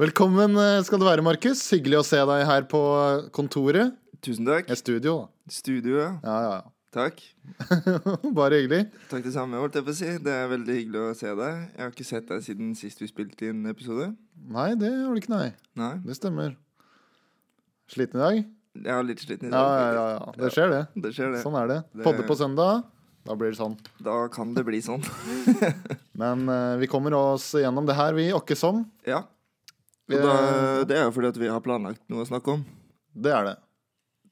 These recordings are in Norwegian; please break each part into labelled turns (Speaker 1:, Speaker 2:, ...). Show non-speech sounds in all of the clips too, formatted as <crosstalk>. Speaker 1: Velkommen eh, skal du være, Markus. Hyggelig å se deg her på eh, kontoret.
Speaker 2: Tusen takk.
Speaker 1: Eh, Studio, da.
Speaker 2: Studioet.
Speaker 1: Ja, ja, ja.
Speaker 2: Takk.
Speaker 1: <laughs> Bare hyggelig.
Speaker 2: Takk det samme, holdt jeg på å si. Det er veldig hyggelig å se deg. Jeg har ikke sett deg siden sist vi spilte inn episode.
Speaker 1: Nei, det har du ikke, nei.
Speaker 2: Nei.
Speaker 1: Det stemmer. Sliten i dag?
Speaker 2: Jeg er litt sliten i
Speaker 1: Ja,
Speaker 2: dag.
Speaker 1: ja, ja. ja. Det skjer, det.
Speaker 2: faktisk. Det skjer, det.
Speaker 1: Sånn er det.
Speaker 2: Det-
Speaker 1: Podde på søndag. Da blir det sånn.
Speaker 2: Da kan det bli
Speaker 1: <laughs>
Speaker 2: sånn.
Speaker 1: Men eh, vi kommer oss gjennom det her, vi. Åkke som.
Speaker 2: ja.
Speaker 1: Eh,
Speaker 2: Og da, det er jo fordi at vi har planlagt noe å snakke om.
Speaker 1: Det er det.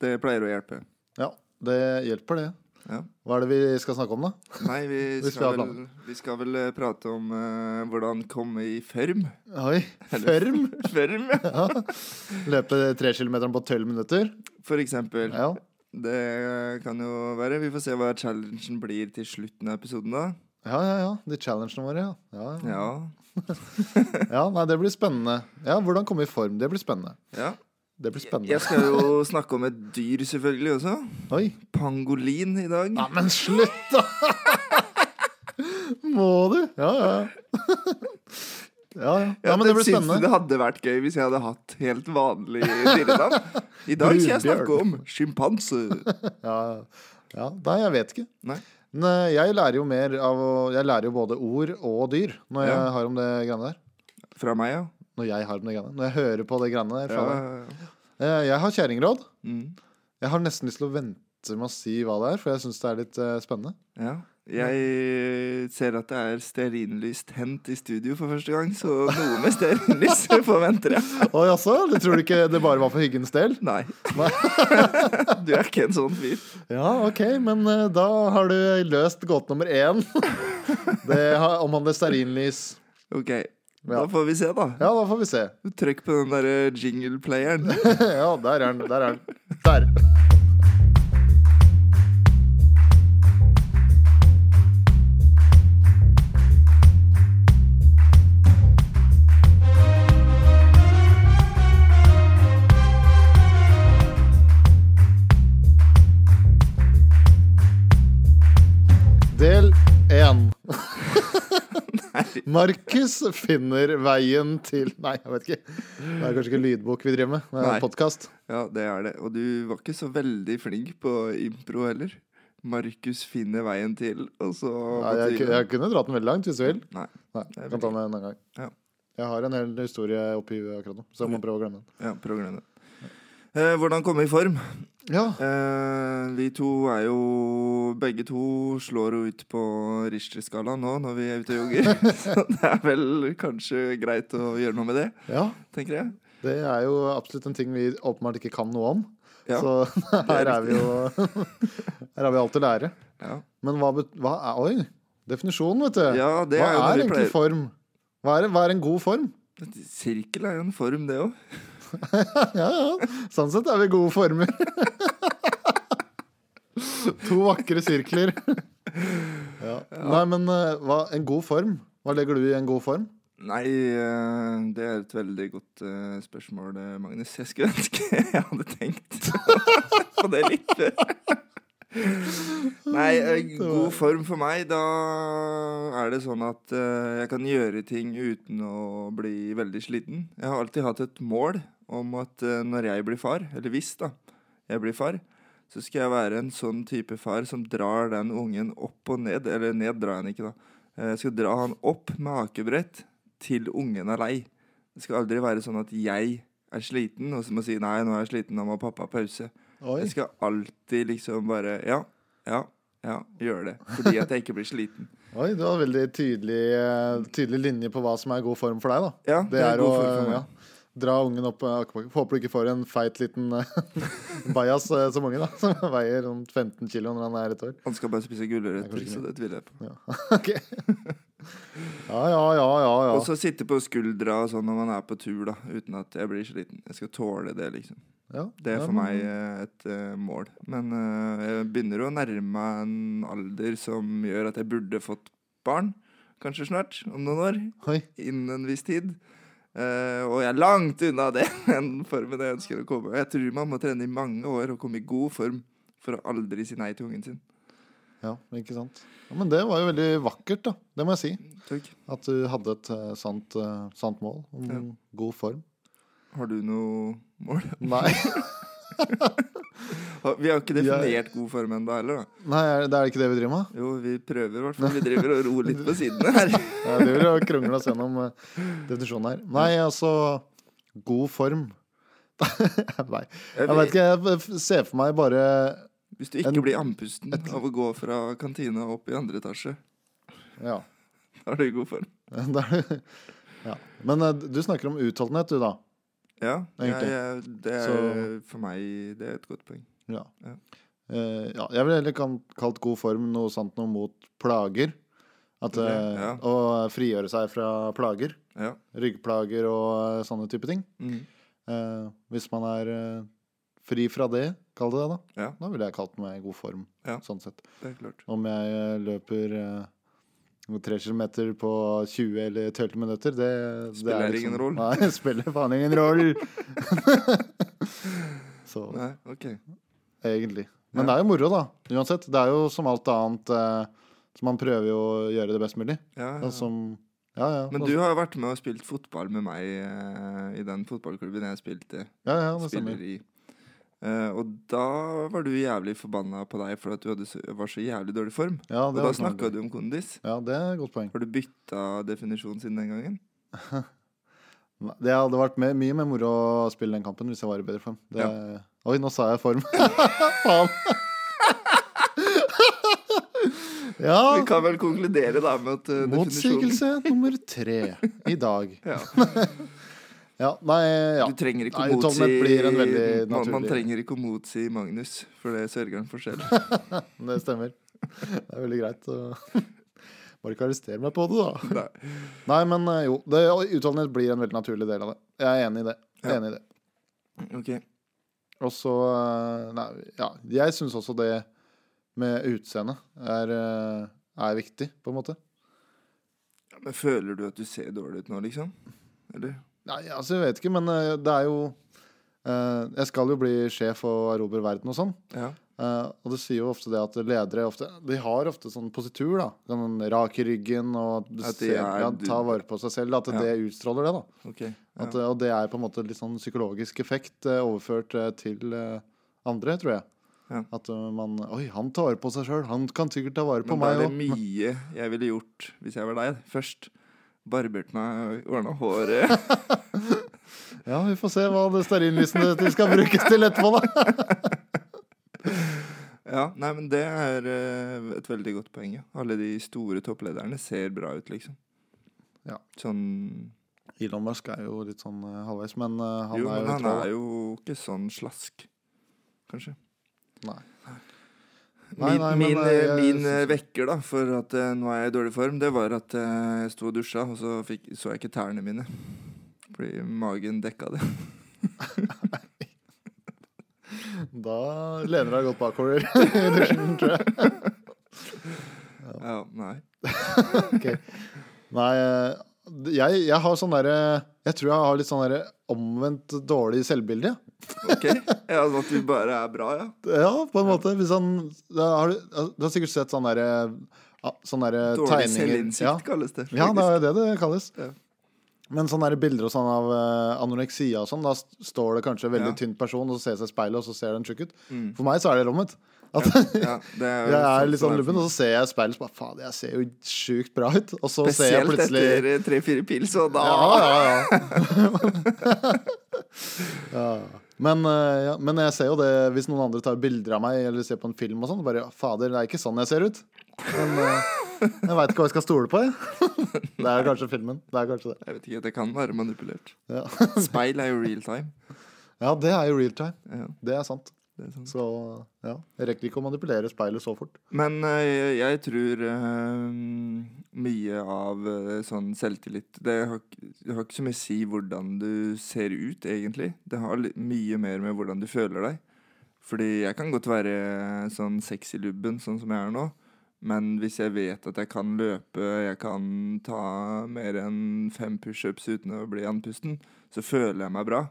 Speaker 2: Det pleier å hjelpe.
Speaker 1: Ja, det hjelper, det.
Speaker 2: Ja.
Speaker 1: Hva er det vi skal snakke om, da?
Speaker 2: Nei,
Speaker 1: <laughs>
Speaker 2: vi
Speaker 1: Vi skal
Speaker 2: skal
Speaker 1: ha
Speaker 2: vel, vi skal vel eh, prate om eh, hvordan komme i <laughs> form.
Speaker 1: Oi, Førm?
Speaker 2: Form, ja.
Speaker 1: <laughs> Ja. Løpe tre kilometeren på tolv minutter?
Speaker 2: For eksempel.
Speaker 1: Ja.
Speaker 2: Det kan jo være. Vi får se hva challengen blir til slutten av episoden, da.
Speaker 1: Ja, ja, ja. De challengene våre, ja. Ja, ja.
Speaker 2: Ja.
Speaker 1: ja. Nei, det blir spennende. Ja, Hvordan komme i form? Det blir spennende.
Speaker 2: ja.
Speaker 1: Det blir spennende.
Speaker 2: Jeg skal jo snakke om et dyr, selvfølgelig, også.
Speaker 1: Oi.
Speaker 2: Pangolin i dag.
Speaker 1: Ja, men slutt, da! <laughs> Må du? Ja, ja. <laughs> Ja, ja. ja men det blir
Speaker 2: syns
Speaker 1: spennende.
Speaker 2: Det hadde vært gøy hvis jeg hadde hatt helt vanlig dyrenavn. I dag skal jeg snakke om sjimpanse.
Speaker 1: Ja, ja. Nei, jeg vet ikke.
Speaker 2: Nei.
Speaker 1: Men jeg lærer jo mer av å Jeg lærer jo både ord og dyr når jeg
Speaker 2: Ja.
Speaker 1: har om det greiene der.
Speaker 2: Fra meg, ja.
Speaker 1: Når jeg har om det greiene. Når jeg hører på det greiene der.
Speaker 2: ja.
Speaker 1: faen. Eh, Jeg har kjerringråd.
Speaker 2: Mm.
Speaker 1: Jeg har nesten lyst til å vente med å si hva det er, for jeg syns det er litt eh, spennende.
Speaker 2: ja. Jeg ser at det er stearinlyst hent i studio for første gang, så noe med stearinlys <laughs> forventer jeg.
Speaker 1: Oi, altså? Du tror ikke det bare var for hyggens del?
Speaker 2: Nei.
Speaker 1: Nei.
Speaker 2: <laughs> Du er ikke en sånn fyr.
Speaker 1: Ja, ok, men eh, da har du løst gåte nummer
Speaker 2: <laughs>
Speaker 1: én. Det har- omhandler stearinlys.
Speaker 2: Ok,
Speaker 1: Ja.
Speaker 2: da får vi se, da.
Speaker 1: Ja, da får vi se. <laughs>
Speaker 2: Trykk på den derre jingle-playeren.
Speaker 1: Ja, der er den. Der er den. Der. Del 1. Markus finner veien til Nei, jeg vet ikke. Det er kanskje ikke lydbok vi driver med. Det
Speaker 2: Nei.
Speaker 1: er podkast.
Speaker 2: Ja, det er det. Og du var ikke så veldig flink på impro heller. Markus finner veien til, og så måtte
Speaker 1: Jeg,
Speaker 2: vi-
Speaker 1: ku- jeg kunne dratt den veldig langt hvis du vil.
Speaker 2: Nei.
Speaker 1: Nei,
Speaker 2: er
Speaker 1: jeg kan ta den en annen gang.
Speaker 2: Ja.
Speaker 1: Jeg har en hel historie oppi huet akkurat nå, så jeg må prøve å glemme den.
Speaker 2: Ja, prøv å glemme det. Eh, hvordan komme i form?
Speaker 1: Ja,
Speaker 2: Eh, vi to er jo Begge to slår jo ut på Richter-skalaen nå når vi er ute og
Speaker 1: <laughs>
Speaker 2: jogger. <laughs> så det er vel kanskje greit å gjøre noe med det,
Speaker 1: ja.
Speaker 2: tenker jeg.
Speaker 1: Det er jo absolutt en ting vi åpenbart ikke kan noe om.
Speaker 2: Ja.
Speaker 1: Så <laughs> her er vi jo <laughs> Her har vi alt å lære.
Speaker 2: Ja.
Speaker 1: Men hva, bet- hva er Oi! Definisjonen, vet du.
Speaker 2: Ja, det
Speaker 1: hva
Speaker 2: er jo noe
Speaker 1: er
Speaker 2: vi
Speaker 1: egentlig
Speaker 2: pleier-
Speaker 1: form? Hva er, hva er en god form? <laughs>
Speaker 2: Sirkel er jo en form, det òg.
Speaker 1: Ja, ja. Sånn sett er vi gode former. <laughs> to vakre sirkler. <laughs> Ja. Nei, men eh, hva, en god form? Hva legger du i en god form?
Speaker 2: Nei, eh, det er et veldig godt eh, spørsmål, eh, Magnus. Jeg skulle ønske <laughs> jeg hadde tenkt <laughs> på det litt før. Nei, eh, god form for meg, da er det sånn at eh, jeg kan gjøre ting uten å bli veldig sliten. Jeg har alltid hatt et mål om at eh, når jeg blir far, eller hvis da, jeg blir far, så skal jeg være en sånn type far som drar den ungen opp og ned, eller ned drar jeg den ikke da, Eh, Jeg skal dra han opp med akebrett til ungen er lei. Det skal aldri være sånn at jeg er sliten, og så må jeg si nei, nå er jeg sliten, nå må pappa ha pause.
Speaker 1: Oi.
Speaker 2: Jeg skal alltid liksom bare ja, ja, ja, gjøre det. Fordi at jeg ikke blir sliten.
Speaker 1: Oi, du har veldig tydelig, eh, tydelig linje på hva som er god form for deg, da.
Speaker 2: Ja,
Speaker 1: <laughs> Det er å
Speaker 2: god form for meg.
Speaker 1: ja, dra ungen opp eh, akebakke. Håper du ikke får en feit liten eh, <laughs> bajas eh, som unge, da. <laughs> Som veier rundt 15 kilo når han er et år.
Speaker 2: Han skal bare spise gulrøtter,
Speaker 1: Det er kanskje
Speaker 2: så det tviler jeg på.
Speaker 1: Ok. Ja, ja, ja, ja. ja.
Speaker 2: Og så sitte på skuldra og sånn når man er på tur, da, uten at jeg blir sliten. Jeg skal tåle det, liksom.
Speaker 1: ja.
Speaker 2: Det er
Speaker 1: ja,
Speaker 2: for meg eh, et eh, mål. Men eh, jeg begynner å nærme meg en alder som gjør at jeg burde fått barn. Kanskje snart, om noen år.
Speaker 1: Oi.
Speaker 2: Innen en viss tid. Eh, og jeg er langt unna det, <laughs> den formen jeg ønsker å komme. Og jeg tror man må trene i mange år og komme i god form for å aldri si nei til ungen sin.
Speaker 1: Ja, ikke sant. Ja, men det var jo veldig vakkert, da. Det må jeg si.
Speaker 2: Takk.
Speaker 1: At du hadde et eh, sant, eh, sant mål om
Speaker 2: Ja.
Speaker 1: god form.
Speaker 2: Har du noe mål?
Speaker 1: Nei, <laughs>
Speaker 2: Ha- Vi har ikke definert god form ennå heller, da.
Speaker 1: Nei er- det er ikke det vi driver med.
Speaker 2: Jo, vi prøver i hvert fall. Vi driver og ror litt <laughs> på sidene her.
Speaker 1: Ja, det vil jo krangle oss gjennom eh, definisjonen her. Nei, altså God form. <laughs> Nei, jeg vet ikke. Jeg f- ser for meg bare
Speaker 2: Hvis du ikke blir andpusten av å gå fra kantina opp i andre etasje,
Speaker 1: Ja. <laughs>
Speaker 2: da er du i god form.
Speaker 1: Det er- ja. Men eh, du snakker om utholdenhet, du, da.
Speaker 2: Ja, jeg,
Speaker 1: Egentlig.
Speaker 2: jeg, det er
Speaker 1: Så-
Speaker 2: for meg Det er et godt poeng.
Speaker 1: Ja.
Speaker 2: Ja.
Speaker 1: Eh, ja, jeg ville heller kan- kalt god form noe sant noe mot plager. At,
Speaker 2: Ok,
Speaker 1: eh,
Speaker 2: ja.
Speaker 1: Å frigjøre seg fra plager.
Speaker 2: Ja.
Speaker 1: Ryggplager og eh, sånne type ting.
Speaker 2: Mm.
Speaker 1: Eh, hvis man er eh, fri fra det, kall det det, da.
Speaker 2: Ja.
Speaker 1: Da ville jeg kalt meg i god form.
Speaker 2: Ja.
Speaker 1: Sånn sett.
Speaker 2: Det er klart.
Speaker 1: Om jeg eh, løper eh, tre kilometer på 20 eller 12 minutter, det, det
Speaker 2: Spiller ingen roll.
Speaker 1: Nei, spiller faen ingen roll.
Speaker 2: <laughs>
Speaker 1: Så
Speaker 2: Nei, ok.
Speaker 1: egentlig. Men det er jo moro, da. Uansett. Det er jo som alt annet eh, Så man prøver jo å gjøre det best mulig.
Speaker 2: Ja,
Speaker 1: Ja,
Speaker 2: ja.
Speaker 1: som, ja, ja.
Speaker 2: Men du har jo vært med og spilt fotball med meg eh, i den fotballklubben jeg spilte.
Speaker 1: ja, ja, det
Speaker 2: spiller
Speaker 1: stemmer.
Speaker 2: i. Eh, og da var du jævlig forbanna på deg for at du hadde så, var så jævlig dårlig form.
Speaker 1: Ja,
Speaker 2: Og
Speaker 1: det
Speaker 2: da
Speaker 1: var
Speaker 2: snakka
Speaker 1: sånn.
Speaker 2: du om kondis.
Speaker 1: Ja, det er et godt poeng.
Speaker 2: Har du bytta definisjon siden den gangen?
Speaker 1: Nei, Det hadde vært mer- mye mer moro å spille den kampen hvis jeg var i bedre form. Det, Oi, nå sa jeg form. <laughs> Faen. <laughs> ja,
Speaker 2: Vi kan vel konkludere da med at eh, definisjonen
Speaker 1: motsigelse nummer tre i dag.
Speaker 2: <laughs> ja.
Speaker 1: <laughs> Ja, nei, ja.
Speaker 2: Du trenger ikke
Speaker 1: Nei,
Speaker 2: å motsi
Speaker 1: utholdenhet blir en veldig
Speaker 2: man, man
Speaker 1: naturlig-
Speaker 2: trenger ikke å motsi Magnus, for det sørger han for selv.
Speaker 1: <laughs> Det stemmer. Det er veldig greit. å- <laughs> Bare ikke arrester meg på det, da.
Speaker 2: Nei.
Speaker 1: Nei, men eh, jo. Det, utholdenhet blir en veldig naturlig del av det. Jeg er enig i det. Jeg er
Speaker 2: Ja.
Speaker 1: enig i det.
Speaker 2: Ok.
Speaker 1: Og så eh, Nei, ja. Jeg syns også det med utseende er, eh, er viktig, på en måte.
Speaker 2: Ja, men føler du at du ser dårlig ut nå, liksom? Eller?
Speaker 1: Nei, altså, jeg vet ikke, men eh, det er jo eh, Jeg skal jo bli sjef og erobre verden og sånn.
Speaker 2: Ja.
Speaker 1: Eh, og det sier jo ofte det at ledere ofte, De har ofte sånn positur, da. Sånn rak i ryggen og du
Speaker 2: At de
Speaker 1: ser,
Speaker 2: er-
Speaker 1: ja, tar vare på seg selv. At
Speaker 2: Ja.
Speaker 1: det utstråler det, da.
Speaker 2: Ok. Ja.
Speaker 1: At, eh, Og det er på en måte litt sånn psykologisk effekt eh, overført eh, til eh, andre, tror jeg.
Speaker 2: Ja.
Speaker 1: At eh, man Oi, han tar vare på seg sjøl. Han kan sikkert ta vare på
Speaker 2: Men da
Speaker 1: meg
Speaker 2: er det
Speaker 1: òg.
Speaker 2: mye jeg ville gjort hvis jeg var deg. Først barbert meg, ordna
Speaker 1: <laughs>
Speaker 2: håret.
Speaker 1: Ja, vi får se hva det <laughs> stearinlysene til skal brukes til etterpå, da.
Speaker 2: Ja, nei, men det er eh, et veldig godt poeng. Ja. Alle de store topplederne ser bra ut, liksom.
Speaker 1: Ja.
Speaker 2: Sånn
Speaker 1: <laughs> Elon Musk er jo litt sånn eh, halvveis, men eh, han
Speaker 2: Jo,
Speaker 1: er jo
Speaker 2: men han
Speaker 1: troll.
Speaker 2: er jo ikke sånn slask, kanskje.
Speaker 1: Nei. Nei,
Speaker 2: Min,
Speaker 1: nei, men
Speaker 2: min,
Speaker 1: jeg-
Speaker 2: eh,
Speaker 1: jeg
Speaker 2: min
Speaker 1: synes-
Speaker 2: eh, vekker da, for at eh, nå er jeg i dårlig form, det var at eh, jeg sto og dusja, og så fikk, så jeg ikke tærne mine. Fordi magen dekka det.
Speaker 1: Da lener du deg godt bakover <laughs> i dusjen, tror jeg.
Speaker 2: Ja, nei.
Speaker 1: Ok. Nei, eh, jeg, jeg har sånn derre Jeg tror jeg har litt sånn derre omvendt dårlig selvbilde. jeg.
Speaker 2: Ok, ja, At du bare er bra, ja.
Speaker 1: Ja, på en måte. Hvis han, da har du, du har sikkert sett sånne der, ja, sånne der
Speaker 2: Dårlig
Speaker 1: tegninger
Speaker 2: selvinnsikt
Speaker 1: ja.
Speaker 2: kalles det.
Speaker 1: ja, det er jo det det kalles.
Speaker 2: Ja.
Speaker 1: Men sånne der bilder og sånn av eh, anoreksia og sånn, da s- står det kanskje en veldig
Speaker 2: Ja.
Speaker 1: tynn person, og så ser jeg seg i speilet, og så ser den tjukk ut.
Speaker 2: Mm.
Speaker 1: For meg så er det rommet. At <laughs>
Speaker 2: Ja, det er,
Speaker 1: jeg er
Speaker 2: sånn
Speaker 1: litt sånn
Speaker 2: som er for
Speaker 1: lubben,
Speaker 2: meg.
Speaker 1: og så ser jeg i speilet, og så bare faen, jeg ser jo sjukt bra ut. Og så ser jeg
Speaker 2: Spesielt
Speaker 1: plutselig
Speaker 2: etter eh, tre-fire pils, og da
Speaker 1: Ja, ja, ja. <laughs> ja. Men, eh, ja, men jeg ser jo det hvis noen andre tar bilder av meg eller ser på en film og sånn. Bare fader, det er ikke sånn jeg ser ut. Men eh, jeg veit ikke hva jeg skal stole på, jeg. <laughs> Det er kanskje filmen. Det er kanskje det.
Speaker 2: Jeg vet ikke, det kan være manipulert.
Speaker 1: Ja, <laughs>
Speaker 2: Speil er jo real time.
Speaker 1: ja det er jo real time.
Speaker 2: Ja,
Speaker 1: Det er sant.
Speaker 2: det er sånn.
Speaker 1: Så ja, jeg rekker ikke å manipulere speilet så fort.
Speaker 2: Men eh, jeg tror eh, mye av eh, sånn selvtillit Det har, ikke- det har ikke så mye å si hvordan du ser ut, egentlig. Det har li- mye mer med hvordan du føler deg. Fordi jeg kan godt være sånn sexy lubben, sånn som jeg er nå. Men hvis jeg vet at jeg kan løpe, jeg kan ta mer enn fem pushups uten å bli andpusten, så føler jeg meg bra.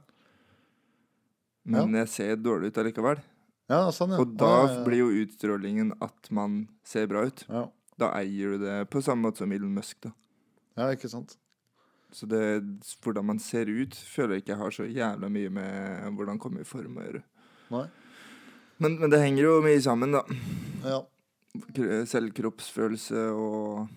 Speaker 2: Men jeg ser dårlig ut allikevel.
Speaker 1: Ja, sånn, ja.
Speaker 2: Og
Speaker 1: Ja, ja,
Speaker 2: da
Speaker 1: ja.
Speaker 2: blir jo utstrålingen at man ser bra ut.
Speaker 1: ja.
Speaker 2: Da eier du det på samme måte som Elon Musk, da.
Speaker 1: ja, ikke sant.
Speaker 2: Så det, hvordan man ser ut, føler jeg ikke har så jævla mye med hvordan komme i form å gjøre.
Speaker 1: Nei.
Speaker 2: Men, men det henger jo mye sammen, da.
Speaker 1: Ja,
Speaker 2: Kro- Selvkroppsfølelse og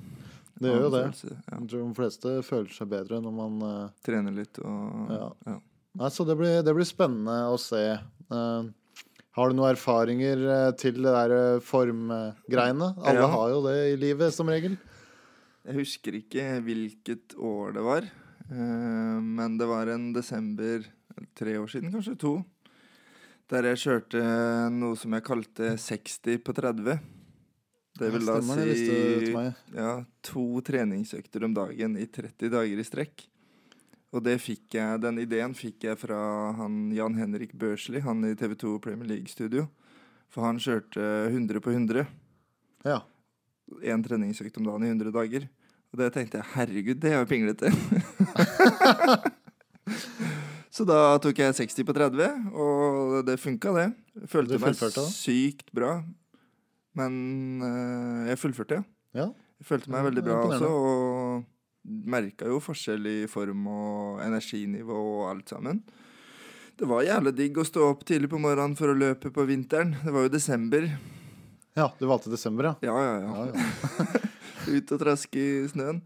Speaker 1: det gjør jo det.
Speaker 2: Følelse, ja.
Speaker 1: Jeg tror de fleste føler seg bedre når man eh,
Speaker 2: Trene litt og
Speaker 1: Ja.
Speaker 2: ja.
Speaker 1: Nei, så det blir, det blir spennende å se. Eh, har du noen erfaringer eh, til det der eh, formgreiene? Alle
Speaker 2: Ja.
Speaker 1: har jo det i livet, som regel.
Speaker 2: Jeg husker ikke hvilket år det var, eh, men det var en desember tre år siden, kanskje to, der jeg kjørte noe som jeg kalte 60 på 30. Det vil da
Speaker 1: stemmer, det visste du
Speaker 2: si
Speaker 1: til meg.
Speaker 2: ja, to treningsøkter om dagen i 30 dager i strekk. Og det fikk jeg, den ideen fikk jeg fra han Jan Henrik Børsli, han i TV 2 Premier League-studio. For han kjørte 100 på 100
Speaker 1: Ja.
Speaker 2: én treningsøkt om dagen i 100 dager. Og det tenkte jeg herregud, det er
Speaker 1: <laughs>
Speaker 2: jo pinglete. så da tok jeg 60 på 30, og det funka, det. Jeg
Speaker 1: Du
Speaker 2: Følte meg
Speaker 1: fullførte det?
Speaker 2: sykt bra. Men eh, jeg fullførte, ja.
Speaker 1: ja.
Speaker 2: Jeg følte meg
Speaker 1: Ja,
Speaker 2: veldig
Speaker 1: det er
Speaker 2: bra
Speaker 1: imponerende.
Speaker 2: også, og merka jo forskjell i form og energinivå og alt sammen. Det var jævla digg å stå opp tidlig på morgenen for å løpe på vinteren. Det var jo desember.
Speaker 1: Ja, du valgte desember, ja.
Speaker 2: Ja, ja, ja.
Speaker 1: Ja, ja.
Speaker 2: Ut og traske i snøen.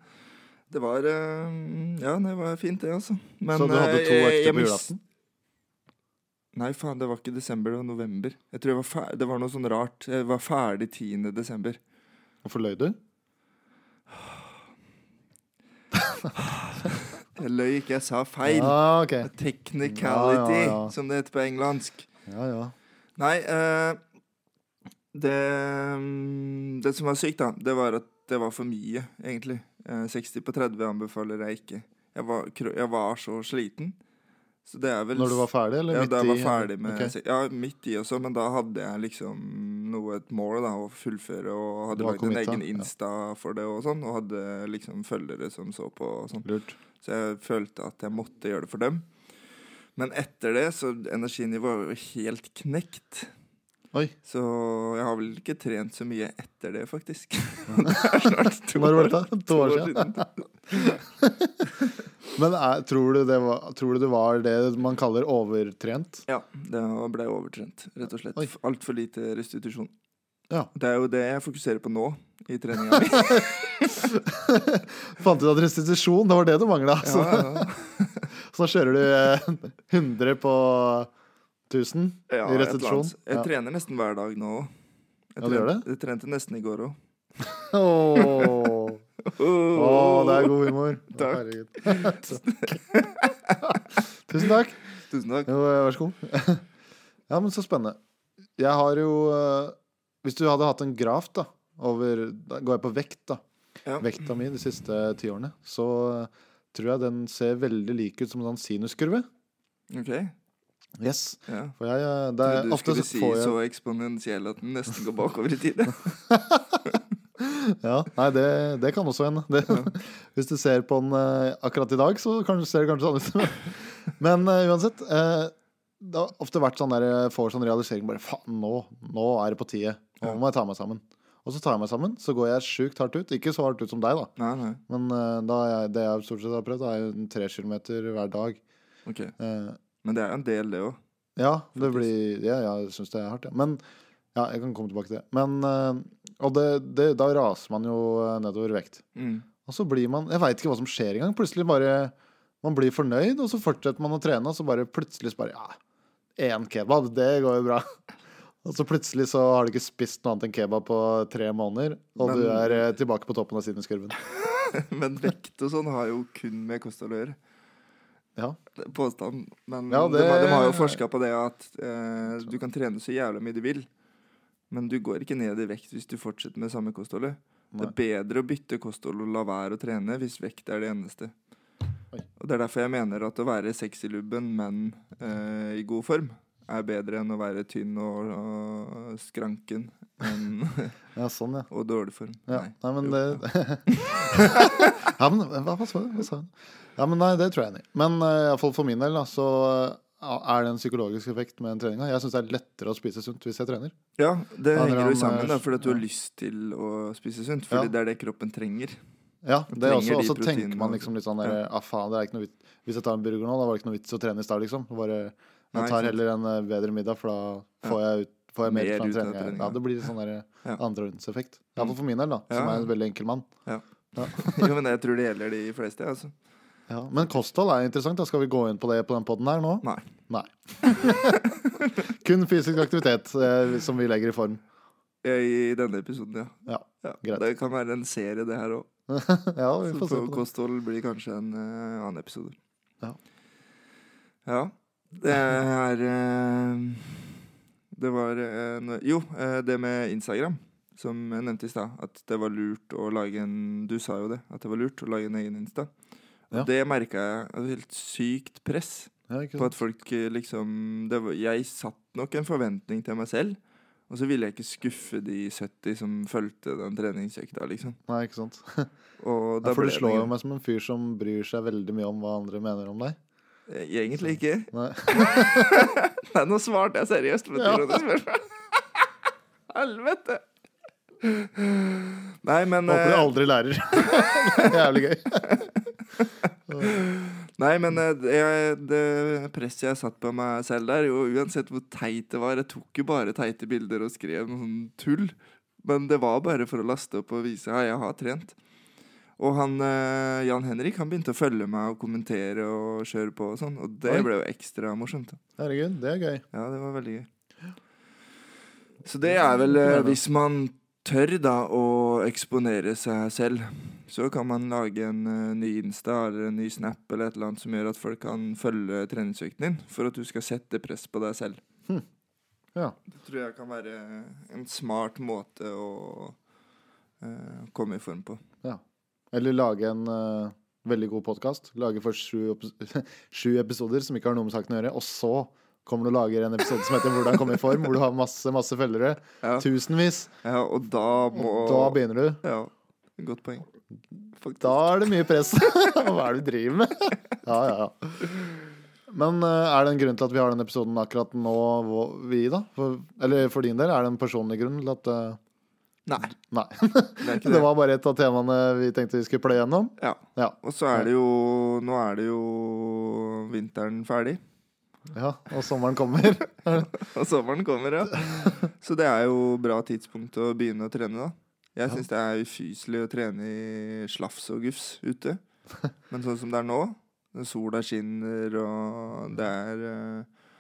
Speaker 2: Det var eh, Ja, det var fint, det, altså. Men,
Speaker 1: så du hadde
Speaker 2: eh,
Speaker 1: to
Speaker 2: jeg-
Speaker 1: økter
Speaker 2: jeg
Speaker 1: på
Speaker 2: mis-
Speaker 1: julaften?
Speaker 2: Nei, faen, det var ikke desember, det var november. Jeg tror jeg var fer Det var noe sånn rart. Jeg var ferdig 10. desember.
Speaker 1: Hvorfor løy du?
Speaker 2: Jeg løy ikke, jeg sa feil.
Speaker 1: Ja, ok.
Speaker 2: Technicality,
Speaker 1: Ja, ja, ja.
Speaker 2: som det heter på engelsk.
Speaker 1: Ja, ja.
Speaker 2: Nei, eh, mm, det Det som var sykt, da, det var at det var for mye, egentlig. Eh, 60 på 30 anbefaler jeg ikke. Jeg var, kro- jeg var så sliten. Så det er vel
Speaker 1: Når du var ferdig, eller
Speaker 2: ja,
Speaker 1: midt i?
Speaker 2: da jeg var ferdig med
Speaker 1: Ok.
Speaker 2: Ja, midt i også, men da hadde jeg liksom noe, et mål da, å fullføre, og
Speaker 1: Du
Speaker 2: hadde
Speaker 1: var
Speaker 2: lagd en
Speaker 1: committed,
Speaker 2: egen
Speaker 1: ja.
Speaker 2: Insta for det og sånn, og hadde liksom følgere som så på og sånn.
Speaker 1: Lurt.
Speaker 2: Så jeg følte at jeg måtte gjøre det for dem. Men etter det, så energinivået var jo helt knekt.
Speaker 1: Oi.
Speaker 2: Så jeg har vel ikke trent så mye etter det,
Speaker 1: <laughs>
Speaker 2: faktisk. <laughs> det er snart to
Speaker 1: Når var
Speaker 2: år-
Speaker 1: dette? To år siden? Men er, tror, du det var, tror du det var det man kaller overtrent? <laughs>
Speaker 2: Ja, det ble overtrent, rett og slett.
Speaker 1: Oi.
Speaker 2: Altfor lite restitusjon.
Speaker 1: Ja.
Speaker 2: Det er jo det jeg fokuserer på nå i
Speaker 1: <laughs>
Speaker 2: treninga mi.
Speaker 1: Fant ut at restitusjon, det var det du altså. mangla.
Speaker 2: Ja,
Speaker 1: Så,
Speaker 2: ja.
Speaker 1: så da kjører du eh, <laughs> 100 på 1000
Speaker 2: Ja,
Speaker 1: i
Speaker 2: et eller
Speaker 1: restitusjon.
Speaker 2: annet. Jeg
Speaker 1: Ja.
Speaker 2: trener nesten hver dag nå òg.
Speaker 1: Ja, du gjør det?
Speaker 2: Jeg trente nesten i går òg.
Speaker 1: Åh. Åh, det er god humor. Å,
Speaker 2: Takk.
Speaker 1: herregud. <laughs> Tusen takk.
Speaker 2: Tusen takk.
Speaker 1: Jo, eh, vær så god. <laughs> Ja, men så spennende. Jeg har jo eh, Hvis du hadde hatt en graf da over Da går jeg på vekt, da.
Speaker 2: Ja.
Speaker 1: Vekta mi de siste ti årene. Så eh, tror jeg den ser veldig lik ut som en sånn sinuskurve.
Speaker 2: Ok.
Speaker 1: Yes.
Speaker 2: Ja.
Speaker 1: For jeg, eh, det er,
Speaker 2: Trodde du
Speaker 1: ofte
Speaker 2: skulle
Speaker 1: så
Speaker 2: si
Speaker 1: får jeg
Speaker 2: så eksponentiell at den nesten går bakover i
Speaker 1: <laughs>
Speaker 2: tid.
Speaker 1: ja, Nei, det, det kan også hende. Det, <laughs> Hvis du ser på den eh, akkurat i dag, så kan, ser det kanskje sånn ut. <laughs> Men eh, uansett. eh, det har ofte vært sånn der jeg får sånn realisering bare faen, nå, nå er det på tide. Nå
Speaker 2: Ja.
Speaker 1: må jeg ta meg sammen. Og så tar jeg meg sammen, så går jeg sjukt hardt ut. Ikke så hardt ut som deg, da.
Speaker 2: Nei, nei.
Speaker 1: Men eh, da er jeg, det jeg stort sett har prøvd, er jo en tre kilometer hver dag.
Speaker 2: Ok.
Speaker 1: Eh,
Speaker 2: Men det er jo en del, det òg.
Speaker 1: ja, det
Speaker 2: Faktisk.
Speaker 1: blir Ja, jeg syns det er hardt, ja. Men ja, jeg kan komme tilbake til det. Men eh, Og det, det, da raser man jo eh, nedover i vekt.
Speaker 2: Mm.
Speaker 1: Og så blir man Jeg veit ikke hva som skjer engang. Plutselig bare Man blir fornøyd, og så fortsetter man å trene, og så bare plutselig så bare Ja, én kebab, det går jo bra. <laughs> Og så plutselig så har du ikke spist noe annet enn kebab på tre måneder, og du
Speaker 2: Men-
Speaker 1: er eh, tilbake på toppen av sinuskurven.
Speaker 2: <laughs> Men vekt og sånn har jo kun med kosthold å gjøre.
Speaker 1: Ja.
Speaker 2: Det er Påstand. Men
Speaker 1: Ja,
Speaker 2: de,
Speaker 1: det-
Speaker 2: har- de har jo forska på det at eh, du kan trene så jævla mye du vil, men du går ikke ned i vekt hvis du fortsetter med samme kostholdet. Det er bedre å bytte kosthold og la være å trene hvis vekt er det eneste.
Speaker 1: Oi.
Speaker 2: Og Det er derfor jeg mener at å være sexylubben, men eh, i god form, er bedre enn å være tynn og, og skranken enn, <laughs>
Speaker 1: Ja, sånn, ja.
Speaker 2: og dårlig form.
Speaker 1: Ja,
Speaker 2: Nei.
Speaker 1: nei, men
Speaker 2: Jo,
Speaker 1: det <laughs> Ja, men hva, hva sa du? Hva sa du? Ja, men nei, det tror jeg enig i. Men eh, i hvert fall for min del, da, så Er det en psykologisk effekt med treninga? Jeg syns det er lettere å spise sunt hvis jeg trener.
Speaker 2: Ja, det
Speaker 1: Handler
Speaker 2: henger
Speaker 1: om,
Speaker 2: jo sammen, da,
Speaker 1: eh,
Speaker 2: fordi at du har
Speaker 1: ja.
Speaker 2: lyst til å spise sunt.
Speaker 1: Ja.
Speaker 2: Fordi det er det kroppen trenger. <laughs>
Speaker 1: Ja, det er
Speaker 2: trenger
Speaker 1: også,
Speaker 2: de
Speaker 1: også tenker
Speaker 2: proteinene
Speaker 1: man
Speaker 2: og-
Speaker 1: liksom litt sånn der, ah, faen, det er ikke noe vits. Hvis jeg tar en burger nå, da var det ikke noe vits å trene i stad, liksom. Bare,
Speaker 2: Nei,
Speaker 1: jeg tar
Speaker 2: sant.
Speaker 1: heller en eh, bedre middag, for da får jeg, ut, får jeg mer fra
Speaker 2: Mer
Speaker 1: en
Speaker 2: ut av
Speaker 1: trening.
Speaker 2: treninga.
Speaker 1: Ja, det blir sånn der
Speaker 2: Ja. Mm.
Speaker 1: andreordenseffekt. Iallfall for min del, da,
Speaker 2: Ja,
Speaker 1: som er
Speaker 2: ja.
Speaker 1: en veldig enkel mann.
Speaker 2: Jo, men jeg tror det gjelder de fleste, jeg, altså.
Speaker 1: Ja. Men kosthold er interessant. da Skal vi gå inn på det på den poden her nå?
Speaker 2: Nei.
Speaker 1: Nei. <laughs> Kun fysisk aktivitet eh, som vi legger i form. <laughs>
Speaker 2: I denne episoden, ja.
Speaker 1: Ja, greit.
Speaker 2: Det kan være en serie, det her òg.
Speaker 1: ja, vi får se på det.
Speaker 2: Kosthold blir kanskje en eh, annen episode.
Speaker 1: Ja.
Speaker 2: Ja. Det er eh, Det var en Jo, eh, det med Instagram, som jeg nevnte i stad. At det var lurt å lage en Du sa jo det, at det var lurt å lage en egen Insta. Og
Speaker 1: Ja.
Speaker 2: Det merka jeg. et Helt sykt press
Speaker 1: Ja, ikke
Speaker 2: på
Speaker 1: sant?
Speaker 2: at folk eh, liksom det var, Jeg satt nok en forventning til meg selv. Og så ville jeg ikke skuffe de 70 som fulgte den treningsøkta, liksom.
Speaker 1: Nei, ikke sant.
Speaker 2: Og da
Speaker 1: Ja, for
Speaker 2: ble
Speaker 1: du
Speaker 2: det
Speaker 1: slår jo
Speaker 2: ingen-
Speaker 1: meg som en fyr som bryr seg veldig mye om hva andre mener om deg.
Speaker 2: Eh, Egentlig ikke.
Speaker 1: Sånn. Nei.
Speaker 2: <laughs> Nei, nå svarte jeg seriøst på
Speaker 1: Ja.
Speaker 2: Tyrones spørsmål. <laughs> Helvete! Nei, men
Speaker 1: Håper du
Speaker 2: eh,
Speaker 1: aldri lærer.
Speaker 2: <laughs>
Speaker 1: Det er Jævlig gøy.
Speaker 2: Nei, men eh, det, det presset jeg satt på meg selv der, jo, uansett hvor teit det var Jeg tok jo bare teite bilder og skrev noe sånn tull. Men det var bare for å laste opp og vise at jeg har trent. Og han, eh, Jan Henrik han begynte å følge meg og kommentere og kjøre på og sånn. Og det
Speaker 1: Oi.
Speaker 2: ble jo ekstra morsomt. da.
Speaker 1: Herregud, det er gøy.
Speaker 2: Ja, det var veldig gøy. Så det er vel eh, Hvis man tør da å eksponere seg selv, så kan man lage en eh, ny Insta eller en ny Snap eller et eller annet som gjør at folk kan følge treningsøkten din, for at du skal sette press på deg selv.
Speaker 1: Hm. Ja.
Speaker 2: Det tror jeg kan være en smart måte å eh, komme i form på.
Speaker 1: Eller lage en eh, veldig god podkast. Lage for sju, epis- <laughs> sju episoder som ikke har noe med saken å gjøre. Og så kommer du og lager en episode som heter 'Hvordan komme i form', hvor du har masse masse følgere.
Speaker 2: Ja.
Speaker 1: Tusenvis.
Speaker 2: Ja, og da
Speaker 1: Og
Speaker 2: må
Speaker 1: da begynner du.
Speaker 2: Ja, godt poeng. Faktisk.
Speaker 1: Da er det mye press. <laughs> Hva er det du driver med? Ja, ja, ja. Men eh, er det en grunn til at vi har den episoden akkurat nå, hvor- vi, da? For, eller for din del, er det en personlig grunn til at eh,
Speaker 2: Nei,
Speaker 1: Nei.
Speaker 2: det er ikke
Speaker 1: Det
Speaker 2: det.
Speaker 1: var bare et av temaene vi tenkte vi skulle pløye gjennom.
Speaker 2: Ja.
Speaker 1: Ja.
Speaker 2: Og så er det jo Nå er det jo vinteren ferdig. <laughs>
Speaker 1: Ja, og sommeren kommer. <laughs>
Speaker 2: Og sommeren kommer, ja. Så det er jo bra tidspunkt å begynne å trene, da. Jeg syns det er ufyselig å trene i slafs og gufs ute. Men sånn som det er nå, når sola skinner og det er eh,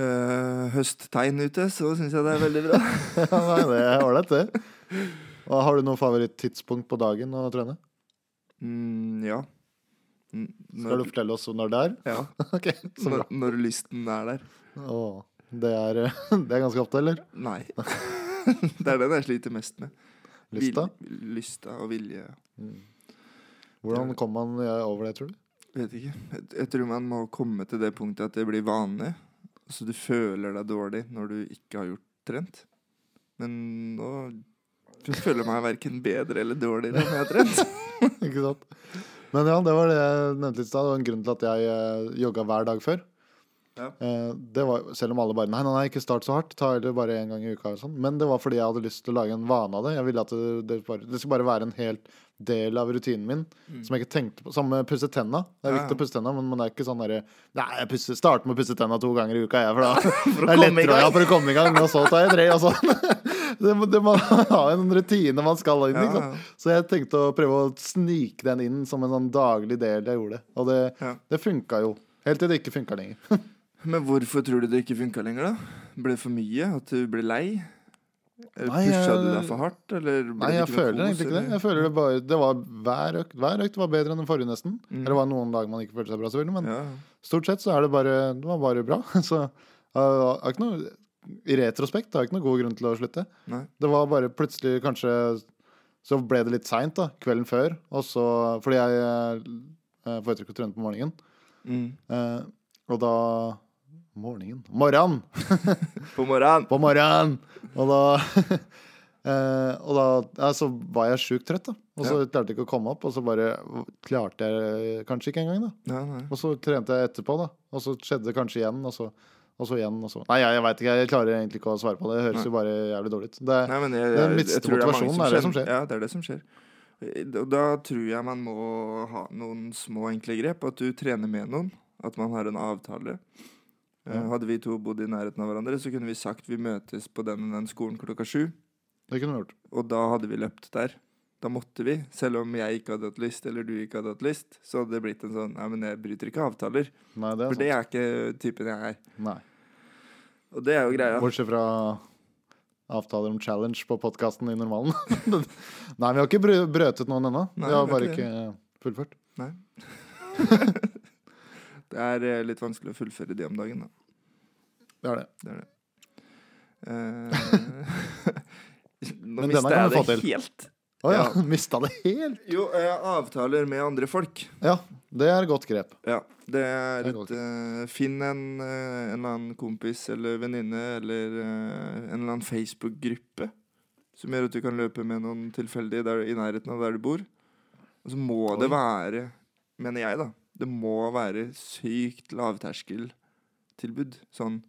Speaker 2: eh, høsttegn ute, så syns jeg det er veldig bra.
Speaker 1: <laughs> Ja, nei, det er ålreit, det. Og har du noe favorittidspunkt på dagen å trene?
Speaker 2: Mm, ja. Mm,
Speaker 1: Skal du
Speaker 2: Når,
Speaker 1: fortelle oss når det er? <laughs>
Speaker 2: ja.
Speaker 1: Ok, så bra.
Speaker 2: Når, når lysten er der.
Speaker 1: Å, det, er, <laughs> det er ganske ofte, eller? <laughs>
Speaker 2: Nei. <laughs> Det er den jeg sliter mest med.
Speaker 1: Lysta?
Speaker 2: Vil, lysta og vilje.
Speaker 1: Hvordan kom man over det, tror du?
Speaker 2: Vet ikke. Jeg, jeg tror man må komme til det punktet at det blir vanlig. Så du føler deg dårlig når du ikke har gjort trent. Men nå føler jeg meg verken bedre eller dårligere når jeg har trent.
Speaker 1: <laughs> Ikke sant? Men ja, det var det jeg nevnte litt i stad. Det var en grunn til at jeg eh, jogga hver dag før.
Speaker 2: Ja.
Speaker 1: Eh, Det var, selv om alle bare Nei, nei, nei, ikke start så hardt. Ta heller bare én gang i uka. Og sånn. Men det var fordi jeg hadde lyst til å lage en vane av det. Jeg ville at det, det, bare, det skulle bare være en helt del av rutinen min. Som jeg ikke tenkte på. Samme med pusse tenna. Det er
Speaker 2: Mm. Ja, ja.
Speaker 1: viktig å pusse tenna, men man er ikke sånn derre Nei, jeg pusser, starter med å pusse tenna to ganger i uka, jeg, for
Speaker 2: <laughs>
Speaker 1: da <laughs>
Speaker 2: For
Speaker 1: det
Speaker 2: å
Speaker 1: er
Speaker 2: komme i
Speaker 1: lettere å- ja,
Speaker 2: gang.
Speaker 1: for å komme i gang. Og så tar jeg tre,
Speaker 2: <laughs>
Speaker 1: og sånn. Det, må- det, man har en rutine man skal inn i.
Speaker 2: Ja,
Speaker 1: ikke sant? Så jeg tenkte å prøve å snike den inn som en sånn daglig del jeg gjorde. Og det,
Speaker 2: Ja.
Speaker 1: det funka jo. Helt til det ikke funka lenger.
Speaker 2: Men hvorfor tror du det ikke funka lenger, da? Ble det for mye? At du ble lei?
Speaker 1: Nei,
Speaker 2: Pusha du
Speaker 1: jeg-
Speaker 2: deg for hardt? Eller ble
Speaker 1: Nei,
Speaker 2: det
Speaker 1: jeg
Speaker 2: ikke noe
Speaker 1: føler
Speaker 2: kos,
Speaker 1: egentlig ikke det.
Speaker 2: eller?
Speaker 1: Jeg føler det bare, det var Hver økt, hver økt var bedre enn den forrige, nesten.
Speaker 2: Mm.
Speaker 1: Eller det var noen dager man ikke følte seg bra, selvfølgelig. Men
Speaker 2: Ja.
Speaker 1: stort sett så er det bare Det var bare bra. <laughs> Så jeg har ikke noe I retrospekt har jeg ikke noen god grunn til å slutte.
Speaker 2: Nei.
Speaker 1: Det var bare plutselig kanskje Så ble det litt seint, da. Kvelden før. Og så Fordi jeg eh, foretrekker å trene på morgenen.
Speaker 2: Mm.
Speaker 1: Eh, og da Morgenen. Morran!
Speaker 2: På morgenen.
Speaker 1: På morgenen! Og da <laughs> Eh, og da ja, så var jeg sjukt trøtt, da. Og så klarte jeg ikke å komme opp, og så bare klarte jeg kanskje ikke engang, da.
Speaker 2: Nei, nei.
Speaker 1: Og så trente jeg etterpå, da. Og så skjedde det kanskje igjen, og så, og så igjen, og så Nei, jeg, jeg veit ikke. Jeg klarer egentlig ikke å svare på det. Det høres jo bare jævlig dårlig ut. Det,
Speaker 2: Nei, men jeg,
Speaker 1: Den
Speaker 2: jeg,
Speaker 1: minste
Speaker 2: jeg tror det er
Speaker 1: motivasjonen
Speaker 2: mange som
Speaker 1: er det som
Speaker 2: skjer.
Speaker 1: skjer.
Speaker 2: Ja, det er det som skjer. Da, da tror jeg man må ha noen små, enkle grep. At du trener med noen. At man har en avtale. Eh,
Speaker 1: Ja.
Speaker 2: Hadde vi to bodd i nærheten av hverandre, så kunne vi sagt vi møtes på den og den skolen klokka sju.
Speaker 1: det kunne vi gjort.
Speaker 2: Og da hadde vi løpt der. Da måtte vi. Selv om jeg ikke hadde hatt lyst, eller du ikke hadde hatt lyst, så hadde det blitt en sånn Nei, men jeg bryter ikke avtaler.
Speaker 1: Nei, det er
Speaker 2: For det
Speaker 1: sant.
Speaker 2: er ikke typen jeg er.
Speaker 1: Nei.
Speaker 2: Og det er jo greia.
Speaker 1: Bortsett fra avtaler om challenge på podkasten i normalen. <laughs> Nei, vi har ikke brø- brøtet noen ennå.
Speaker 2: Nei,
Speaker 1: Vi har
Speaker 2: vi har
Speaker 1: bare
Speaker 2: ikke
Speaker 1: ikke fullført.
Speaker 2: Det er eh, litt vanskelig å fullføre de om dagen, da.
Speaker 1: Det er det.
Speaker 2: Det er det. <laughs> Eh, Nå
Speaker 1: Men denne
Speaker 2: mista
Speaker 1: kan vi
Speaker 2: jeg det
Speaker 1: få til.
Speaker 2: helt.
Speaker 1: Å ja, <laughs>
Speaker 2: Ja.
Speaker 1: mista det helt!
Speaker 2: Jo, eh, avtaler med andre folk.
Speaker 1: Ja, det er et godt grep.
Speaker 2: Ja, det
Speaker 1: Det er
Speaker 2: er et eh, Finn en, eh, en eller annen kompis eller venninne eller eh, en eller annen Facebook-gruppe som gjør at du kan løpe med noen tilfeldige der, i nærheten av der du bor. Og så må det
Speaker 1: Oi.
Speaker 2: være, mener jeg, da Det må være sykt lavterskeltilbud. Sånn